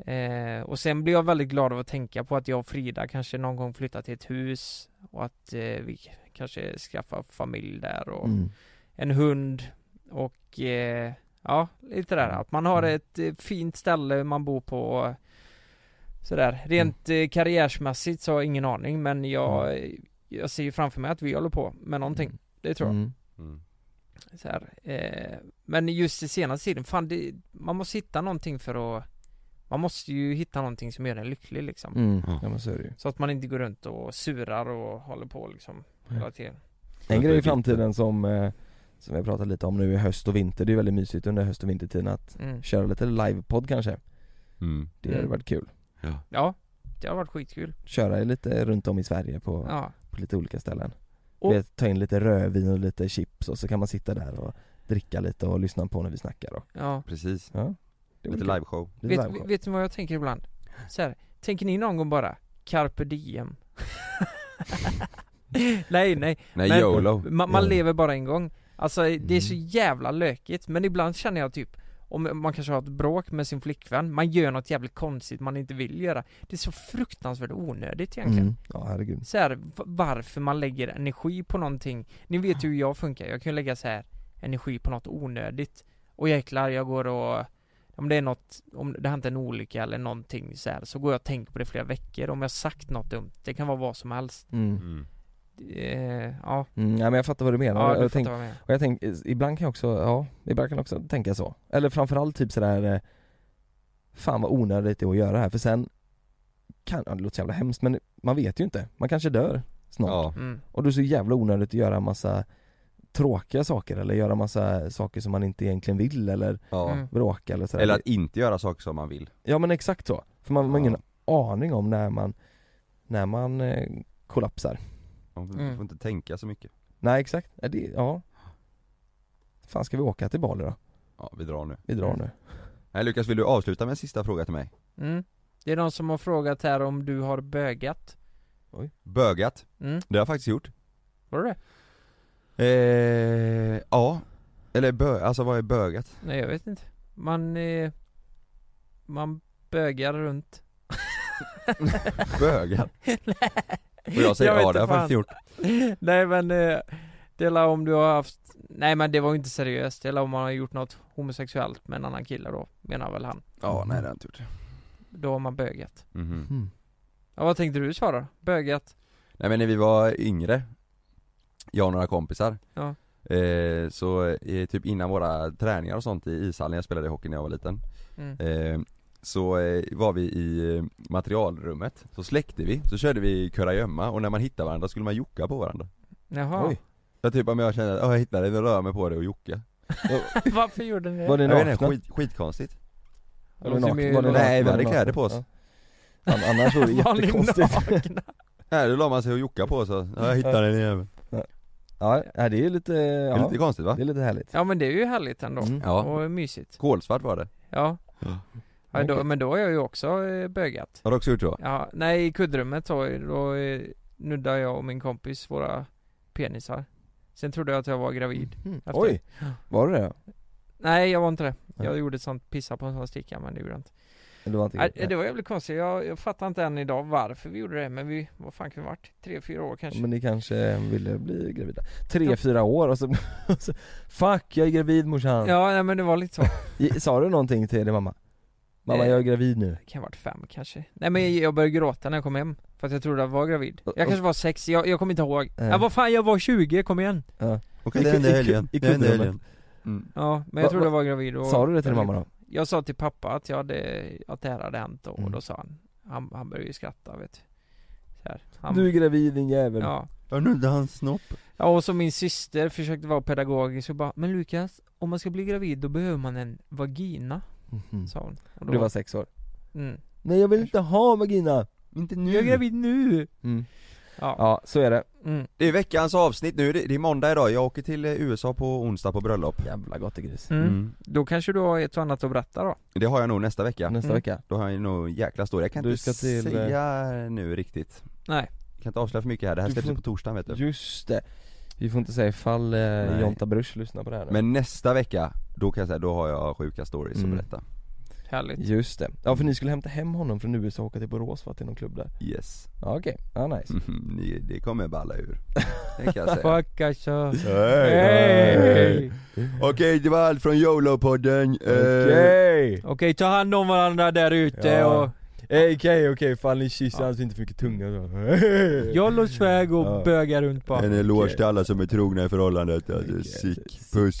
Eh, och sen blir jag väldigt glad av att tänka på att jag och Frida kanske någon gång flyttar till ett hus och att eh, vi k- kanske skaffar familj där och Mm. en hund och eh, ja, lite där. Att man har Mm. ett eh, fint ställe man bor på och sådär. Rent Mm. eh, karriärsmässigt så har jag ingen aning men jag, jag ser ju framför mig att vi håller på med någonting. Det tror jag. Mm. Mm. Så här, eh, men just i senaste tiden, fan det, man måste hitta någonting för att Man måste ju hitta någonting som gör en lycklig liksom Mm. Ja. Ja men så är det ju Så att man inte går runt och surar och håller på liksom hela tiden En grej i Lite- framtiden som, eh, som vi har pratat lite om nu i höst och vinter, det är väldigt mysigt under höst och vintertiden att mm. köra lite livepodd kanske mm. Det hade Mm. varit kul Ja, det har varit skitkul Köra lite runt om i Sverige på, Ja, på lite olika ställen Och- Vet, Ta in lite rödvin och lite chips och så kan man sitta där och dricka lite och lyssna på när vi snackar och, ja Precis, ja, det är lite väl kul. liveshow Lite vet, liveshow. vet ni vad jag tänker ibland? Så här, tänker ni någon gång bara Carpe diem? nej, nej Nej Men- YOLO Man, man Ja. lever bara en gång Alltså det är så Mm. jävla lökigt men ibland känner jag typ Om man kanske har ett bråk med sin flickvän, man gör något jävligt konstigt man inte vill göra Det är så fruktansvärt onödigt egentligen Mm. Ja herregud så här, v- varför man lägger energi på någonting Ni vet ju hur jag funkar, jag kan ju lägga så här energi på något onödigt Och jäklar, jag går och om det är något, om det har hänt en olycka eller någonting så här, så går jag och tänker på det flera veckor Om jag sagt något dumt, det kan vara vad som helst mm. mm. eh, ja, Mm, nej men jag fattar vad du menar. ja, jag du tänk- fattar vad jag menar. Och jag tänker, ibland kan jag också, ja, ibland kan jag också tänka så. Eller framförallt typ sådär eh, Fan vad onödigt det är att göra här, för sen kan, ja, det låter så jävla hemskt men man vet ju inte, man kanske dör snart. Ja, Mm. Och då är det så jävla onödigt att göra massa tråkiga saker eller göra massa saker som man inte egentligen vill eller ja. Mm. bråka eller sådär. Eller att inte göra saker som man vill. Ja men exakt så, för man, man har Ja. ingen aning om när man, när man eh, kollapsar. Man får Mm. får inte tänka så mycket. Nej exakt, ja, det, ja. Fan ska vi åka till Bali då? Ja, vi drar nu. Vi drar nu. Nej Lukas, vill du avsluta med en sista fråga till mig? Mm. Det är någon som har frågat här om du har bögat. Bögat, Mm. det har jag faktiskt gjort. Var det det? Eh, ja. Eller bö, alltså vad är bögat? Nej jag vet inte. Man, eh, man bögar runt. Bögat? Och jag säger vet ja, inte det har jag faktiskt fan. gjort. Nej men eh, det är la om du har haft Nej men det var ju inte seriöst, det är la om man har gjort något homosexuellt med en annan kille då, menar väl han Ja, nej det har jag inte gjort. Då har man bögat Mhm. Mm. Ja vad tänkte du svara? Bögat? Nej men när vi var yngre Jag och några kompisar Ja. eh, Så eh, typ innan våra träningar och sånt i ishallen, jag spelade hockey när jag var liten Mm. eh, Så eh, var vi i eh, materialrummet, så släckte vi, så körde vi kurragömma och när man hittade varandra skulle man jocka på varandra Jaha, Oj. Så typ om jag kände att "Åh, jag hittade dig, då rör jag mig på dig och jocka varför gjorde ni det? Var ni Jag vet nakna? inte, skit, skitkonstigt Var Det ni låter nakna? ju- Var ni nakna? Nej, vi Var hade ni kläder nakna? på oss. Ja. Fan, Annars vore det Var ni jättekonstigt nakna? Nej då la man sig och jocka på så, "Ja, jag hittade dig igen Ja, nej, det är ju lite, Det ja, är lite konstigt va? det är lite härligt Ja men det är ju härligt ändå, Mm. Ja, och mysigt kolsvart var det Ja, ja då, Okej. men då har jag ju också eh, bögat Har du också gjort så? Ja, nej i kuddrummet så, då eh, nuddade jag och min kompis våra penisar Sen trodde jag att jag var gravid Mm. Efter- Oj, var det det? Nej jag var inte det. Jag Nej. gjorde ett sånt pissa på en sån sticka men det gjorde jag inte. Eller var det inte Nej, det var jävligt konstigt. Jag, jag fattar inte än idag varför vi gjorde det men vi, vad fan kan vi varit? Tre, fyra år kanske? Men ni kanske ville bli gravida? Tre, Ja. fyra år och så, och så Fuck, jag är gravid morsan! Ja nej, men det var lite så. I- Sa du någonting till din mamma? Mamma Eh. jag är gravid nu Det kan ha varit fem kanske. Nej men jag började gråta när jag kom hem. För att jag trodde jag var gravid. Mm. Och- Eh. Jag kanske var sex, jag, jag kommer inte ihåg. Nej. Ja vad fan jag var 20, kom igen! Okej, I- det hände i i- helgen, i det hände i kuddrummet. helgen Mm. Ja men Va- jag trodde va- jag var gravid och Sa du det till din mamma då? Jag sa till pappa att jag hade, att det här hade hänt och, Mm. då sa han, han, han började ju skratta vet du. Så här. Han, Du är gravid din jävel! ja. Jag nuddade hans snopp Ja och så min syster försökte vara pedagogisk och bara Men Lukas, om man ska bli gravid då behöver man en vagina, Mhm. sa hon och Du var sex år? mm. Nej jag vill inte ha vagina! Inte nu! Jag är gravid nu! Mm. Ja, Ja, så är det mm. Det är veckans avsnitt nu, det det är måndag idag, jag åker till eh, USA på onsdag på bröllop Jävla gris Mm. Då kanske du har ett och annat att berätta då? Det har jag nog nästa vecka, Nästa Mm. vecka då har jag nog en jäkla stor, jag kan Du inte ska till, eh, säga nu riktigt Nej, jag kan inte avslöja för mycket här, det här Du släpps får- ju på torsdagen vet du Just det, vi får inte säga ifall eh, Typ. Nej. Jonta Bruch lyssnar på det här nu. Men nästa vecka, då kan jag säga, då har jag sjuka stories Mm. att berätta härligt Just det, ja för ni skulle hämta hem honom från USA och åka till Borås för att det är någon klubb där Yes, Ja okej, ja nice Mhm, ni- det kommer balla ur Det kan jag säga Fuck alltså Hej. Hej! Okej, det var allt från YOLO-podden Eh, Okej! Okej, ta hand om varandra där ute Ja. och Okej okej, fan ni kysser Ja. alltså inte för mycket tunga då. jollo swag och Ja. böga runt bara Eh, En eloge till alla som är trogna i förhållandet, alltså, sick, puss